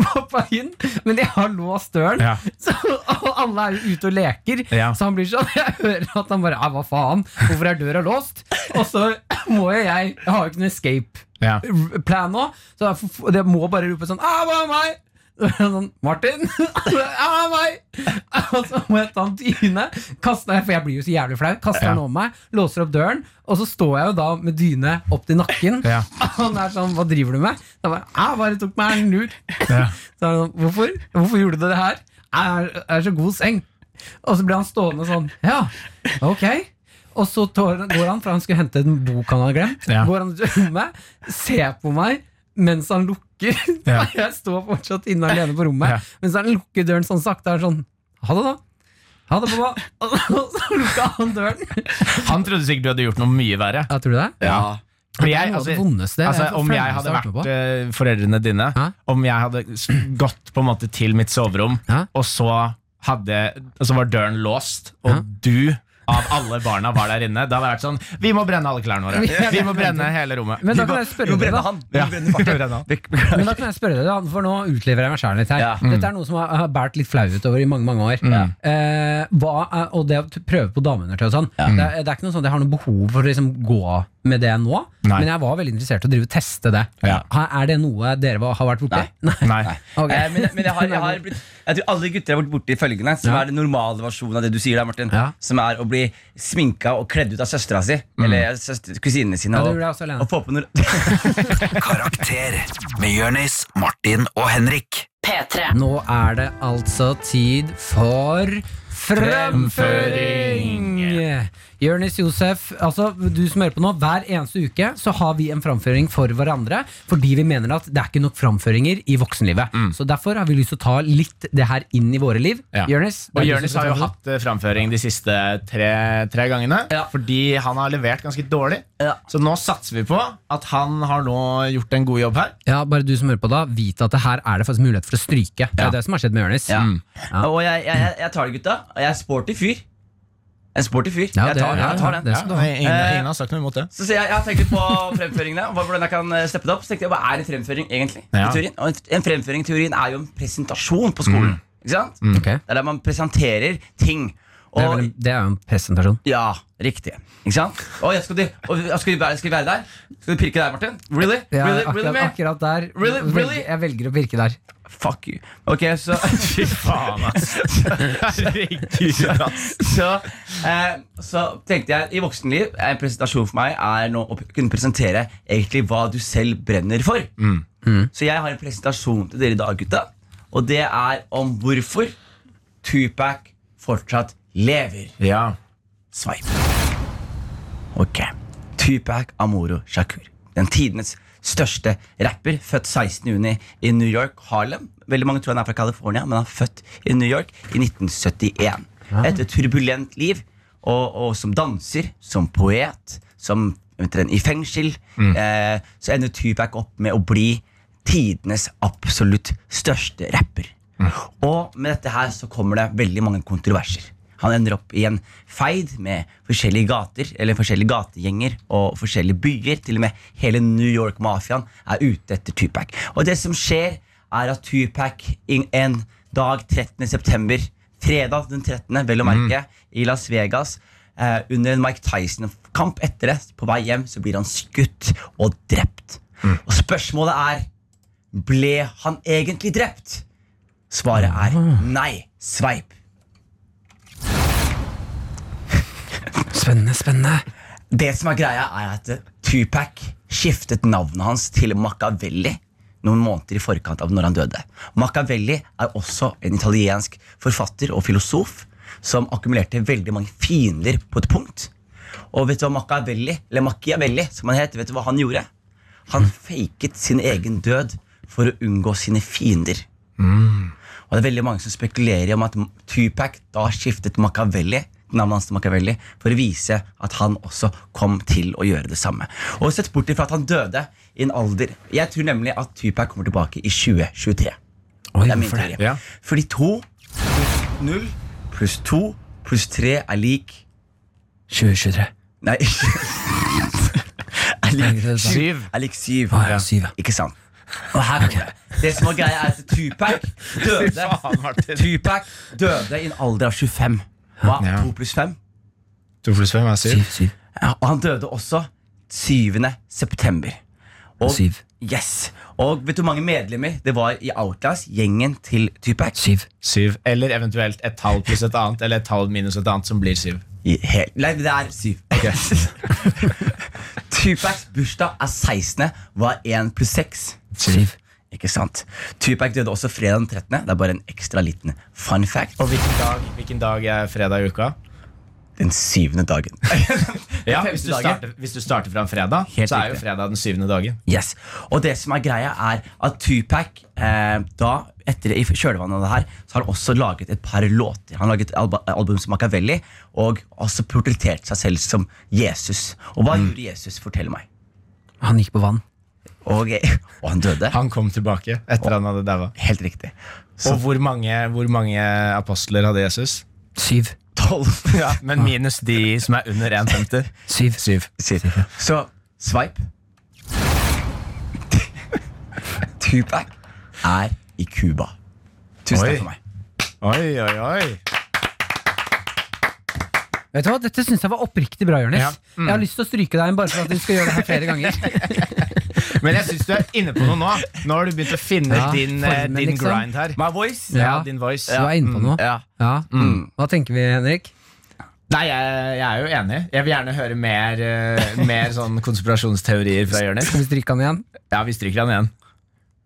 Pappa inn, men jeg har låst døren.
Ja.
Så, og alle er jo ute og leker.
Ja.
Så han blir sånn Jeg hører at han bare «Ja, Hva faen? Hvorfor er døra låst? Og så må jo jeg Jeg har jo ikke noen
Ja.
escape-plan nå, så jeg får- det må bare rope sånn «Ah, hva er meg? Sånn, Martin! «Ah, meg!» Og så må jeg ta en dyne, kaste den, for jeg blir jo så jævlig flau. Kaster den
Ja.
om meg, låser opp døren, og så står jeg jo da med dyne opp til nakken. Og han er sånn 'Hva driver du med?' Da bare 'Jeg bare tok meg en lur'. Så er han sånn, hvorfor? hvorfor gjorde du det her? Jeg er, jeg er så god seng. Og så ble han stående sånn. Ja, ok. Og så tår, går han, for han skulle hente en bok han hadde glemt,
Ja.
går han til rommet, ser på meg mens han lukker.
Ja.
Jeg står fortsatt inne alene på rommet, mens han lukker døren sånn sakte. Er sånn, ha det da. Ha det, pappa. Og så lukka han døren.
Han trodde sikkert du hadde gjort noe mye verre.
Ja, tror du det?
Ja.
Det
Fordi
er
jeg,
noe av
altså,
det vondeste jeg
altså,
har fått
om jeg
fremmest
hadde
vært med
vært eh, foreldrene dine, om jeg hadde s- gått på en måte til mitt soverom, og så, hadde, og så var døren låst, og du av alle barna var der inne, da hadde jeg vært sånn Vi må brenne alle klærne våre. Vi må brenne hele rommet.
Men da
Vi må-
kan jeg spørre dere, da.
Ja. Vi brenner han.
Men da kan jeg spørre dere, da, for nå utlever jeg meg sjæl litt her.
Ja. Mm.
Dette er noe som har har båret litt flau utover i mange mange år. Eh, hva er, og det å t- prøve på dameundertøy og sånn. Det,
Mm.
er, det er ikke noe sånn at jeg har noe behov for å liksom gå med det nå,
Nei.
men jeg var veldig interessert i å drive og teste det.
Ja.
Ha- Er det noe dere var- har vært borti? Nei.
Nei.
Ok.
Eh, men men jeg, har, jeg, har blitt, jeg tror alle gutter har vært borti følgende, som er den normale versjonen av det du sier der, Martin. Som er å bli sminka og kledd ut av søstera si,
Mm.
eller søster, kusinene sine.
Ja, det
og-
gjorde jeg også alene.
og få på noe
Karakter med Jonis, Martin og Henrik.
Nå er det altså tid for Fremføring! Jonis Josef, altså du som hører på nå, hver eneste uke så har vi en framføring for hverandre. Fordi vi mener at det er ikke nok framføringer i voksenlivet. Så derfor har vi lyst til å ta litt det her inn i våre liv.
Ja.
Jonis? det
Og
er du
Jonis
som
har jo
skal ta det.
hatt eh, framføring de siste tre, tre gangene. Fordi han har levert ganske dårlig. Så nå satser vi på at han har nå gjort en god jobb her.
Ja, Bare du som hører på da, vit at det her er det faktisk mulighet for å stryke. Det er det som har skjedd med Jonis.
Ja.
Mm. Ja.
Og jeg, jeg, jeg, jeg tar det, gutta. Og jeg er sporty fyr. Jeg er sporty fyr.
Ja,
jeg
det-
tar,
ja,
jeg tar den.
det skal du ha. Eh, Nei, ingen- ingen
har sagt noe imot det.
Så, så jeg, jeg har tenkt litt på fremføringene. og hva- Hvordan jeg kan eh, steppe det opp. Så tenkte jeg, Hva er en fremføring, egentlig?
Ja.
I teorien? Og en- en fremføring i teorien er jo en presentasjon på skolen. Ikke sant?
Mm. Ok.
Det er der man presenterer ting.
Det, er vel, en- det er jo en presentasjon.
Ja, riktig. Ikke sant? Å, ja, skal, du, å, ja, skal, du være, skal du være der? Skal du pirke der, Martin? Really?
Ja,
really?
akkurat,
really, man?
akkurat der.
Really?
velger-
Really?
Jeg velger å pirke der.
Fuck you. Ok, så Fy faen, ass. Herregud, ass. Så, eh, så tenkte jeg i voksenliv En presentasjon for meg er nå å kunne presentere egentlig hva du selv brenner for. Mm. Så jeg har en presentasjon til dere i dag, gutta. Og det er om hvorfor Tupac fortsatt lever.
Ja.
Sveip. Ok. Tupac Amoro Shakur. Den tidenes største rapper, født 16. juni i New York, Harlem. Veldig mange tror han er fra California, men han er født i New York i 1971. Et turbulent liv, og, og som danser, som poet, som vet dere, i fengsel, eh, så ender Tupac opp med å bli tidenes absolutt største rapper. Og med dette her så kommer det veldig mange kontroverser. Han ender opp i en feid med forskjellige gater, eller forskjellige gategjenger og forskjellige byer. Til og med hele New York-mafiaen er ute etter Tupac. Og det som skjer, er at Tupac in- en dag 13. september, fredag den 13., vel å merke, i Las Vegas, eh, under en Mike Tyson-kamp etter det, på vei hjem, så blir han skutt og drept. Og spørsmålet er ble han egentlig drept? Svaret er nei. Sveip.
Spennende, spennende.
Det som er greia, er at Tupac skiftet navnet hans til Machiavelli noen måneder i forkant av når han døde. Machiavelli er også en italiensk forfatter og filosof som akkumulerte veldig mange fiender på et punkt. Og vet du hva Machiavelli, eller Machiavelli, som han het, vet du hva han gjorde? Han faket sin egen død for å unngå sine fiender. Og det er veldig mange som spekulerer om at Tupac da skiftet Machiavelli navnet hans til Machiavelli, for å vise at han også kom til å gjøre det samme. Og sett bort ifra at han døde i en alder Jeg tror nemlig at Tupac kommer tilbake i 2023. det er min
hvorfor det?
teori. Fordi to pluss null pluss to pluss tre er lik 2023. Nei Er lik syv. Er lik syv. Ikke sant? Og her kommer det. Det som var greia, er at Tupac døde, Tupac døde i en alder av 25. Hva er
Ja.
2 pluss 5?
2 pluss 5 er 7.
Ja, og han døde også 7. september. Og,
Syv.
Yes. Og vet du hvor mange medlemmer det var i Outlast, gjengen til Tupac? Syv.
Eller eventuelt et tall pluss et annet, eller et tall minus et annet, som blir syv.
Nei, det er syv. Tupacs bursdag er 16. Hva er 1 pluss 6? Syv. Ikke sant? Tupac døde også fredag den 13. Det er bare en ekstra liten fun fact.
Og hvilken dag, hvilken dag er fredag i uka?
Den syvende dagen.
Ja,
femte
hvis du,
dagen.
starter, hvis du starter fra en fredag, så er jo
riktig.
fredag den syvende dagen.
Yes. Og det som er greia, er at Tupac eh, da, etter i kjølvannet av det her, så har han også laget et par låter. Han har laget et alba, album som Machiavelli, og også portrettert seg selv som Jesus. Og
Mm.
hva gjorde Jesus? Fortell meg.
Han gikk på vann.
Og, og han døde.
Han kom tilbake etter han hadde daua.
Helt riktig.
Og hvor mange, hvor mange apostler hadde Jesus?
Syv.
Tolv.
Ja, men minus de som er under 1,50.
Syv.
Syv.
Så sveip. Tupac er i Cuba. Tusen
Oi.
takk for meg.
Oi, oi, oi.
Vet du hva, Dette syns jeg var oppriktig bra, Jonis.
Ja. Mm.
Jeg har lyst til å stryke deg inn bare for at du skal gjøre det her flere ganger.
Men jeg syns du er inne på noe nå. Nå har du begynt å finne
Ja,
din, eh,
formen,
din
liksom.
grind her.
My voice?
Ja, din voice.
Du er inne på noe.
Mm, ja.
Mm. Hva tenker vi, Henrik?
Nei, jeg, jeg er jo enig. Jeg vil gjerne høre mer, eh, mer sånn konspirasjonsteorier fra Jonis. Skal
vi stryke han igjen?
Ja, vi stryker han igjen.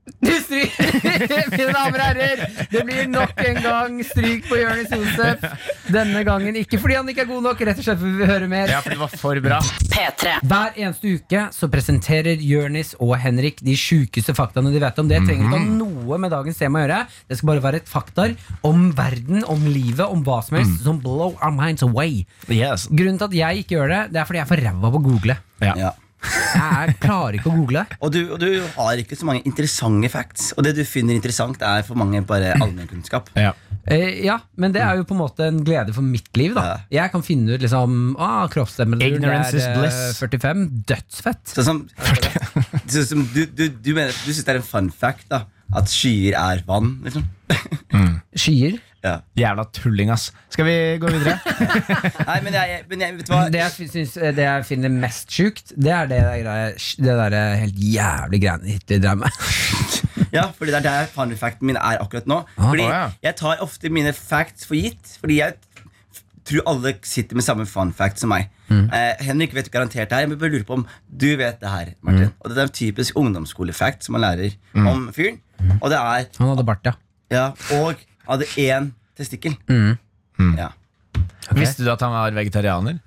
Mine damer og herrer, det blir nok en gang stryk på Jonis Josef. Denne gangen ikke fordi han ikke er god nok, rett og slett fordi vi vil høre mer.
Ja, for det var for bra.
Hver eneste uke så presenterer Jonis og Henrik de sjukeste faktaene de vet om. Det trenger
Mhm.
ikke ha noe med dagens tema å gjøre. Det skal bare være et faktar om verden, om livet, om hva som
Mm.
helst som blow our minds away. Grunnen til at jeg ikke gjør det, det er fordi jeg er for ræva på å google.
Ja.
Jeg klarer ikke å google.
Og du, og du har ikke så mange interessante facts. Og det du finner interessant, er for mange bare allmennkunnskap.
Ja.
Eh, ja, men det er jo på en måte en glede for mitt liv. da Jeg kan finne ut liksom ah, Kroppstemperaturen
Ignorance
er
is
eh,
bliss.
45. Dødsfett.
Sånn som, sånn som du, du, du, mener, du synes det er en fun fact da at skyer er vann, liksom?
Skyer?
Ja.
Jævla tulling, ass. Skal vi gå videre?
Nei, men jeg, men jeg vet du hva
Det jeg, synes, eh, det jeg finner mest sjukt, det er det der, det der eh, helt jævlig greiene Hitler drev med.
Ja, fordi det er der fun facten min er akkurat nå.
Ah,
Fordi
ah, ja.
Jeg tar ofte mine facts for gitt. Fordi jeg f- tror alle sitter med samme fun fact som meg.
Mm.
Eh, Henrik vet garantert det her, men jeg bare lurer på om du vet det her. Martin.
Mm.
Og det er en typisk ungdomsskolefact som man lærer
Mm.
om fyren. Og det er
Han hadde bart, ja.
Og hadde én testikkel. Ja.
Visste du at han var vegetarianer?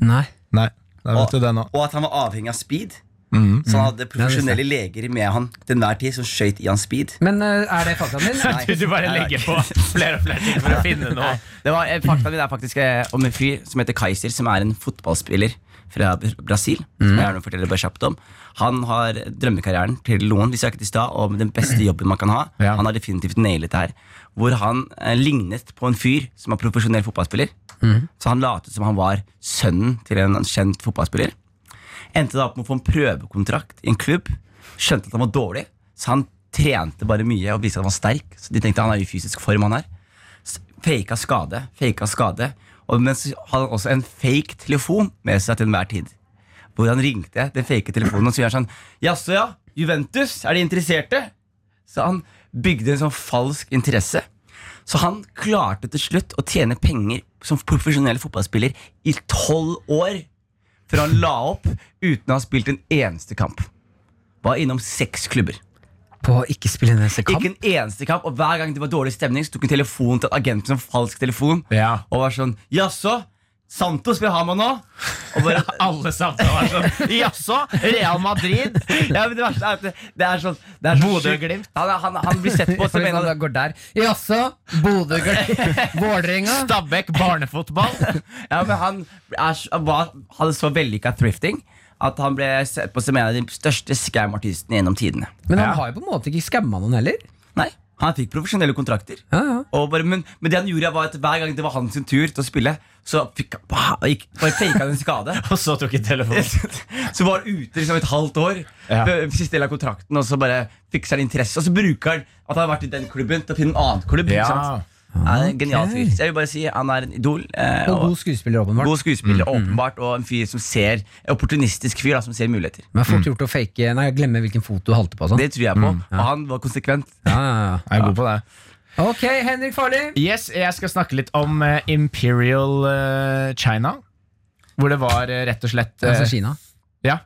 Nei.
Nei, da
Og,
vet du det nå.
og at han var avhengig av speed.
Mhm.
Så han hadde
Mhm.
profesjonelle leger med han til enhver tid som skøyt i hans speed.
Men eh, er det faktaen din?
Nei.
Du bare legger på flere og flere ting for å finne noe.
Det var, eh, fakta min er faktisk eh, om en fyr som heter Kaiser, som er en fotballspiller fra Br- Brasil.
Mm.
Som jeg gjerne forteller bare kjapt om Han har drømmekarrieren til noen vi snakket i stad, om den beste
Mm.
jobben man kan ha. Han har definitivt nailet det her. Hvor han eh, lignet på en fyr som er profesjonell fotballspiller.
Mm.
Mhm.
Så han latet som han var sønnen til en kjent fotballspiller. Endte da opp med å få en prøvekontrakt i en klubb. Skjønte at han var dårlig, så han trente bare mye og viste at han var sterk. Så de tenkte han er i fysisk form, han her. S- Faka skade, faka skade. Og men så hadde han også en fake telefon med seg til enhver tid. Hvor han ringte den fake telefonen og så gjør han sånn Jaså, ja? Juventus? Er de interesserte? Så han bygde en sånn falsk interesse. Så han klarte til slutt å tjene penger som profesjonell fotballspiller i tolv år. Før han la opp uten å ha spilt en eneste kamp. Var innom seks klubber.
På å ikke spille en eneste kamp?
Ikke en eneste kamp, og Hver gang det var dårlig stemning, så tok han telefonen til agenten som falsk telefon. Og var sånn 'Jaså, Santos vil ha meg nå! Og bare,
Alle samtaler er sånn Jaså, Real Madrid?
ja, men det verste er at det, det er sånn, det er sånn
Bodø
sjukt.
Glimt.
Han, han, han blir sett på som en av
går der. Jaså, Bodø, Vålerenga
Stabæk barnefotball.
ja, men han er, så- han var, hadde så vellykka thrifting at han ble sett på som en av de største scam-artistene gjennom tidene.
Men han har jo på en måte ikke skamma noen heller.
Nei, han fikk profesjonelle kontrakter. Og bare, men, men det han gjorde var at hver gang det var hans tur til å spille, så fikk han bah, gikk, bare faka han en skade.
Og så tok jeg telefonen.
så var han ute liksom et halvt år,
Ja.
før- siste del av kontrakten, og så bare fikser han interesse. Og så bruker han at han har vært i den klubben, til å finne en annen klubb.
Ja.
Ikke sant? Han er en genial
Ok.
fyr. Så jeg vil bare si han er en idol. eh,
Og god skuespiller, åpenbart.
God skuespiller,
Mm,
åpenbart, og en fyr som ser en opportunistisk fyr da, som ser muligheter.
Men fort gjort å fake Nei, glemme hvilken fot du halte på. og Sånn.
Det tror jeg på. Og han var konsekvent.
Ja, ja, ja.
Jeg er god på det.
Ok, Henrik Farley.
Yes, Jeg skal snakke litt om eh, Imperial eh, China. Hvor det var eh, rett og slett eh,
Altså Kina.
Ja.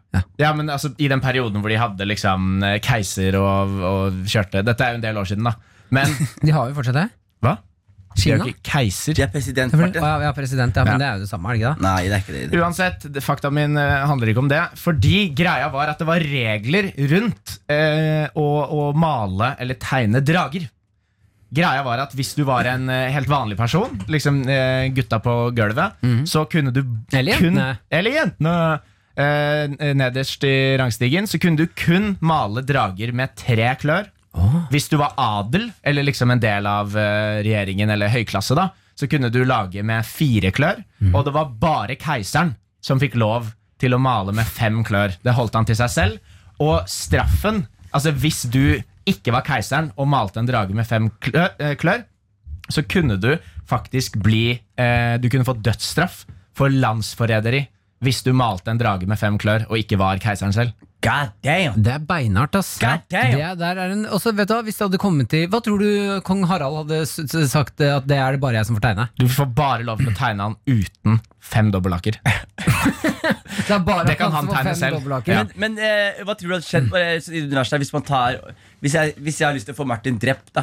ja, men altså, I den perioden hvor de hadde liksom eh, keiser og, og kjørte Dette er jo en del år siden, da. Men
De har jo fortsatt det.
hva? De er
Kina?
jo ikke keiser.
De er president,
Ja, for-
Martin.
Å, ja, ja, president, ja, men
Ja.
det er jo det samme, er det ikke det?
Nei, det er ikke det.
Uansett, det- fakta min eh, handler ikke om det. Fordi greia var at det var regler rundt eh, å, å male eller tegne drager. Greia var at hvis du var en eh, helt vanlig person, liksom eh, gutta på gulvet, så kunne du
Mhm. Eller
kun
jentene.
Eller jentene. Eh, nederst i rangstigen så kunne du kun male drager med tre klør. Hvis du var adel, eller liksom en del av eh, regjeringen eller høyklasse, da, så kunne du lage med fire klør. Og det var bare keiseren som fikk lov til å male med fem klør. Det holdt han til seg selv. Og straffen, altså hvis du ikke var keiseren og malte en drage med fem klør, eh, klør så kunne du faktisk bli eh, Du kunne få dødsstraff for landsforræderi hvis du malte en drage med fem klør og ikke var keiseren selv.
God damn!
Det er beinhardt, ass.
God damn!
Det er- der er en, også, vet du, hva, hvis det hadde kommet til Hva tror du kong Harald hadde s s sagt eh, at det er det bare jeg som får tegne?
Du får bare lov til å tegne han uten fem dobbeltlakker.
Det, er bare
Det kan han
som får
tegne
fem
selv.
dobbelthaker.
Ja.
Men eh, hva tror du hadde skjedd bare, så- i Dunasha, hvis man tar hvis jeg, hvis jeg har lyst til å få Martin drept, da?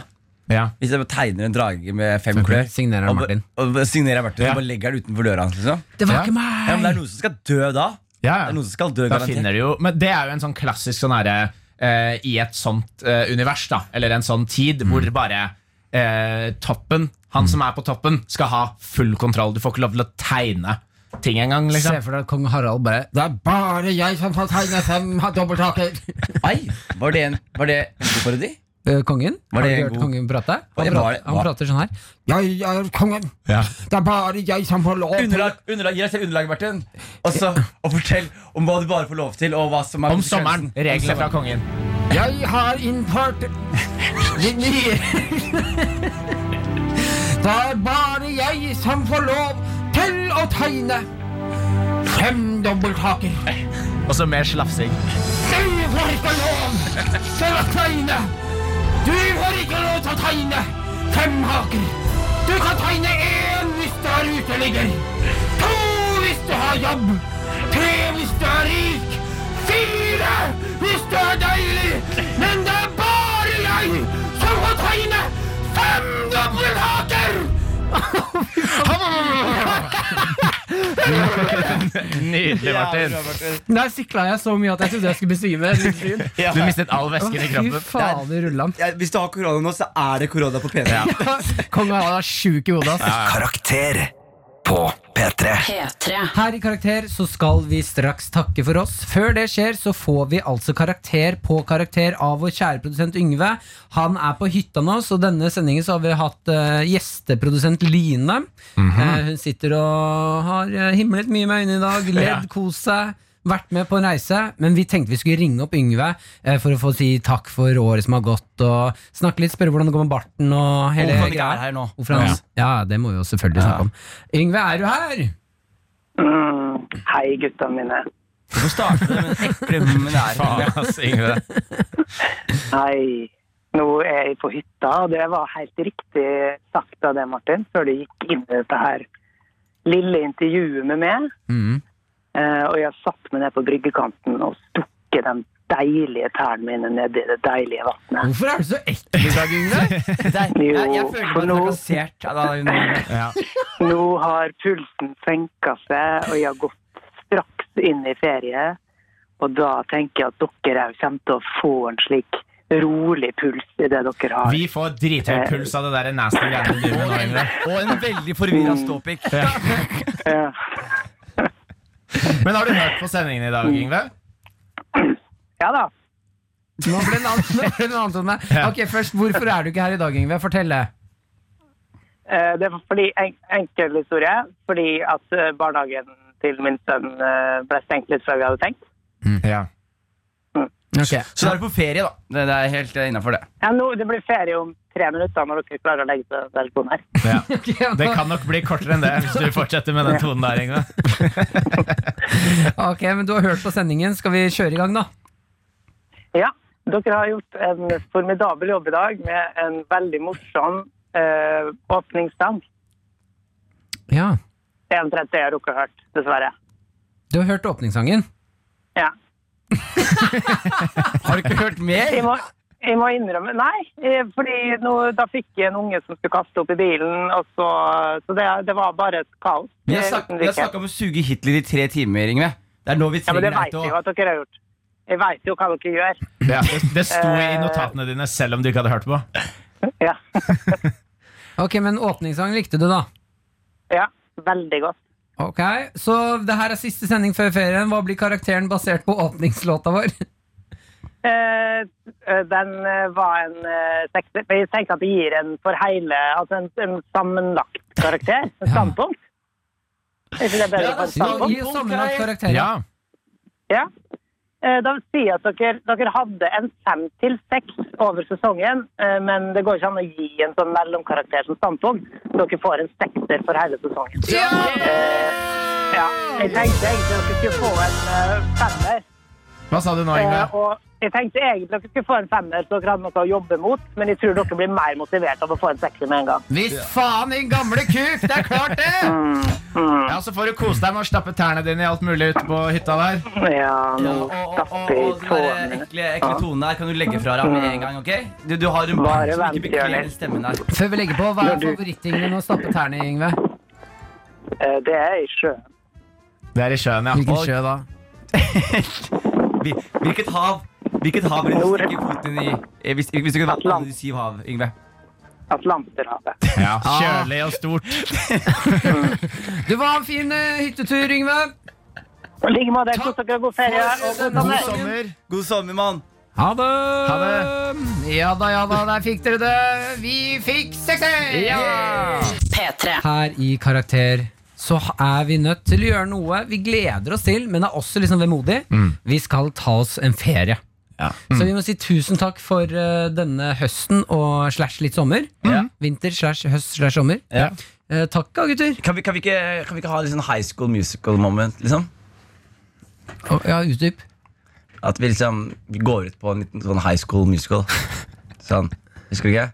Ja.
Hvis jeg bare tegner en drage med fem
Fem
klør
klør, signerer
og,
Martin.
ba- Og, ba- signerer Martin
Ja.
Og bare legger den utenfor døra hans, liksom?
Det var
Ja.
ikke
Ja, men det
meg!
er noen som skal dø da. Det er
Ja, ja.
noen som skal dø,
Da
garantert.
finner du jo Men det er jo en sånn klassisk sånn herre eh, I et sånt eh, univers, da, eller en sånn tid, hvor bare eh, toppen, han som er på toppen, skal ha full kontroll. Du får ikke lov til å tegne ting engang,
Se
liksom.
for deg at kong Harald bare Det er bare jeg som får tegne fem ha- dobbelthaker!
Ai, var det en, var det en god parodi?
Eh, Kongen? Har
Var
du
det
ikke
en
hørt
god-
kongen prate? Han,
Var det- var
prater,
det-
han
hva?
prater sånn her. Jeg er kongen! Det er bare jeg som får lov til
Underlag, underlag, Gi deg selv underlag, Martin. Og så, og fortell om hva du bare får lov til. Og hva som er
Om
konsekvensen.
sommeren. Reglene fra kongen.
Jeg har innført de nye Det er bare jeg som får lov til å tegne fem dobbelthaker.
Og så mer slafsing.
Du får ikke lov til å tegne! Du får ikke lov til å tegne fem haker. Du kan tegne én hvis du er uteligger. To hvis du har jobb. Tre hvis du er rik. Fire hvis du er deilig. Men det er bare jeg som får tegne fem dobbelthaker!
Nydelig, Martin.
Der sikla jeg så mye at jeg trodde jeg skulle besvime.
Du mistet all væsken i kroppen.
fader, rullan.
Ja, hvis du har korona nå, så er det korona på PC.
Kong Harald er sjuk i hodet. ass.
Karakter på P3.
P3.
Her i Karakter så skal vi straks takke for oss. Før det skjer, så får vi altså karakter på karakter av vår kjære produsent Yngve. Han er på hytta nå, så denne sendingen så har vi hatt eh, gjesteprodusent Line. Eh, hun sitter og har eh, himlet mye med øynene i dag, ledd,
Ja.
kost seg. Vært med på en reise, men vi tenkte vi skulle ringe opp Yngve eh, for å få si takk for året som har gått, og snakke litt, spørre hvordan det går med barten og hele
Hvorfor han ikke
greia.
er her nå.
Hvorfor han- Ja, det må vi jo selvfølgelig snakke om. Yngve, er du her?
Mm, hei, gutta mine.
Hvorfor starter du med en ekle men det er-
Faen, ass, Yngve.
Hei. Nå er jeg på hytta, og det var helt riktig sagt av deg, Martin, før du gikk inn i dette her lille intervjuet med meg. Eh, og jeg satt meg ned på bryggekanten og stukket de deilige tærne mine ned i det deilige vannet.
Hvorfor er du så ekkel i dag, Yngve?
Det er- Jeg, jeg føler meg
for nå-
trakassert. Ja, da,
Ja.
Nå har pulsen senka seg, og jeg har gått straks inn i ferie. Og da tenker jeg at dere òg kommer til å få en slik rolig puls i det dere har.
Vi får drithøy
Eh.
puls av det der nasty greiene du driver med nå.
Og en veldig forvirra ståpikk.
Eh,
Ingrid. Men har du hørt på sendingen i dag,
Mm.
Yngve?
Ja da.
Nå ble det en annen, nå ble det en annen tone. Ok, først, Hvorfor er du ikke her i dag, Yngve? Fortell det.
Eh, Det var fordi, en, enkel historie, fordi at eh, barnehagen til min sønn eh, ble stengt litt før vi hadde tenkt.
Ja.
Så da er du på ferie, da. Det, det er helt innafor, det.
Ja, nå, det blir ferie om tre minutter når dere klarer å legge til telefonen her.
Det kan nok bli kortere enn det hvis du fortsetter med den tonen der, Ingve.
Ok, men Du har hørt på sendingen. Skal vi kjøre i gang, da?
Ja, dere har gjort en formidabel jobb i dag med en veldig morsom eh, åpningssang.
Ja.
1.30 har dere hørt, dessverre.
Du har hørt åpningssangen?
Ja.
Har du ikke hørt
Jeg må, jeg må innrømme Nei, eh, fordi nå, da fikk jeg en unge som skulle kaste opp i bilen, og så, så det, det var bare et kaos.
Vi har
Eh,
snak-
uten
vi har
like.
snakka om å suge Hitler i tre timer, Ingve. Det er nå vi
Ja,
trenger
men det
deg
vet
til å
jeg jo at dere har gjort. Jeg vet jo hva dere gjør.
Ja, det, det sto
Eh.
i notatene dine selv om du ikke hadde hørt på.
Ok, Men åpningssangen likte du, da?
Ja, veldig godt.
Ok, Så det her er siste sending før ferien. Hva blir karakteren basert på åpningslåta vår?
Eh, eh, den eh, var en eh, sekser. Jeg tenker at det gir en for hele Altså en, en sammenlagt karakter. En standpunkt. Er ikke det bedre for
altså,
et standpunkt?
Gi oss sammenlagt karakterer.
Ja. Eh, Da vil si at dere, dere hadde en fem til seks over sesongen, eh, men det går ikke an å gi en sånn mellomkarakter som standpunkt. Dere får en sekser for hele sesongen. Ja! ja. Jeg tenkte egentlig dere skulle få en eh, femmer.
Hva sa du nå, Ingve?
Eh, og jeg tenkte egentlig dere skulle få en femmer, så dere hadde noe å jobbe mot, men jeg tror dere blir mer motivert av å få en sekser med en gang.
Visst faen, din gamle kuk! Det er klart, det!
Mm,
Ja, Så får du kose deg med å stappe tærne dine i alt mulig ute på hytta der.
Ja,
Ja, og, og, og, og den der ekle, ekle tonen der kan du legge fra deg med en gang. ok? Du, du har en
Bare
som
vent,
ikke bekler
Jørgen.
den stemmen der.
Før vi legger på, hva
Når
er
du-
favorittingen din å stappe tærne i, Yngve?
Eh, Det er i sjø.
Det er i sjøen, ja.
Hvilken
Og-
sjø da?
Hvil- Hvilket hav Hvilket hav vil du stikke foten i eh, hvis, hvis du kunne valgt alle de syv hav, Yngve?
Atlanterhavet.
Ja, Kjølig og stort.
Du var en fin eh, hyttetur, Yngve.
I like måte. Kos dere, god ferie og god sommer.
God sommer, mann.
Ha det! Ja da, ja da, der fikk dere det. Vi fikk sekser!
P3.
Her i Karakter så er vi nødt til å gjøre noe vi gleder oss til, men er også liksom vemodig. Vi skal ta oss en ferie. Så vi må si tusen takk for eh, denne høsten og slash litt sommer. Vinter slash høst slash sommer. Eh, takk, da, gutter.
Kan vi, kan, vi ikke, kan vi ikke ha litt sånn high school musical moment, liksom?
Og- Ja, utdyp.
At vi liksom vi går ut på en liten sånn high school musical. Sånn. Husker du ikke?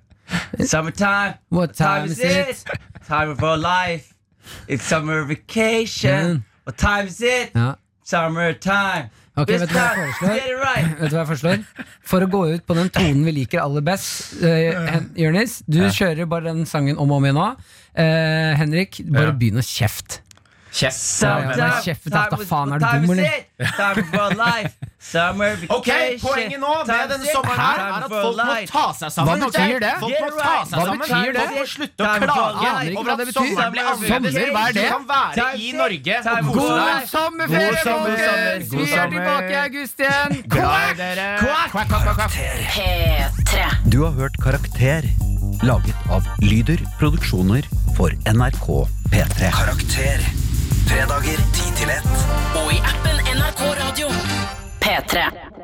Summertime.
What time is it?
Time for life. It's summer vacation. What time is it?
Mm. Ja.
Summertime.
Ok,
It's
vet du hva
time
jeg
to get it
foreslår?
right.
Vet du hva jeg foreslår? For å gå ut på den tonen vi liker aller best, eh, Hen- Jonis, du kjører bare den sangen om og om igjen nå. Eh, Henrik, bare
Ja.
begynn å kjefte.
Kjeft.
Ja, men
Summertime.
kjeft, da,
Time is-
faen, er du
what time
dum,
is
eller?
it? Time for life. Summer vacation.
Ok, Poenget nå med
Time
denne
is it?
sommeren her
Time
er at
for
folk må
life.
ta seg sammen.
Hva betyr det?
Folk må ta seg
Hva
sammen.
betyr det?
Folk må slutte å
Time for life. Jeg aner
klage
ikke
over
hva det
at
betyr.
sommeren blir annerledes.
Sommer, hva er det?
Du kan være i Norge og
God
kose deg.
sommerferie,
God sommer,
folkens!
sommer,
Vi
god
er
sommer.
tilbake i august igjen!
Glad i
Quack!
dere.
Quack!
P3.
Du har hørt Karakter, laget av Lyder Produksjoner for NRK P3. Karakter. Fredager 10 til 1.
Og i appen NRK Radio. P3.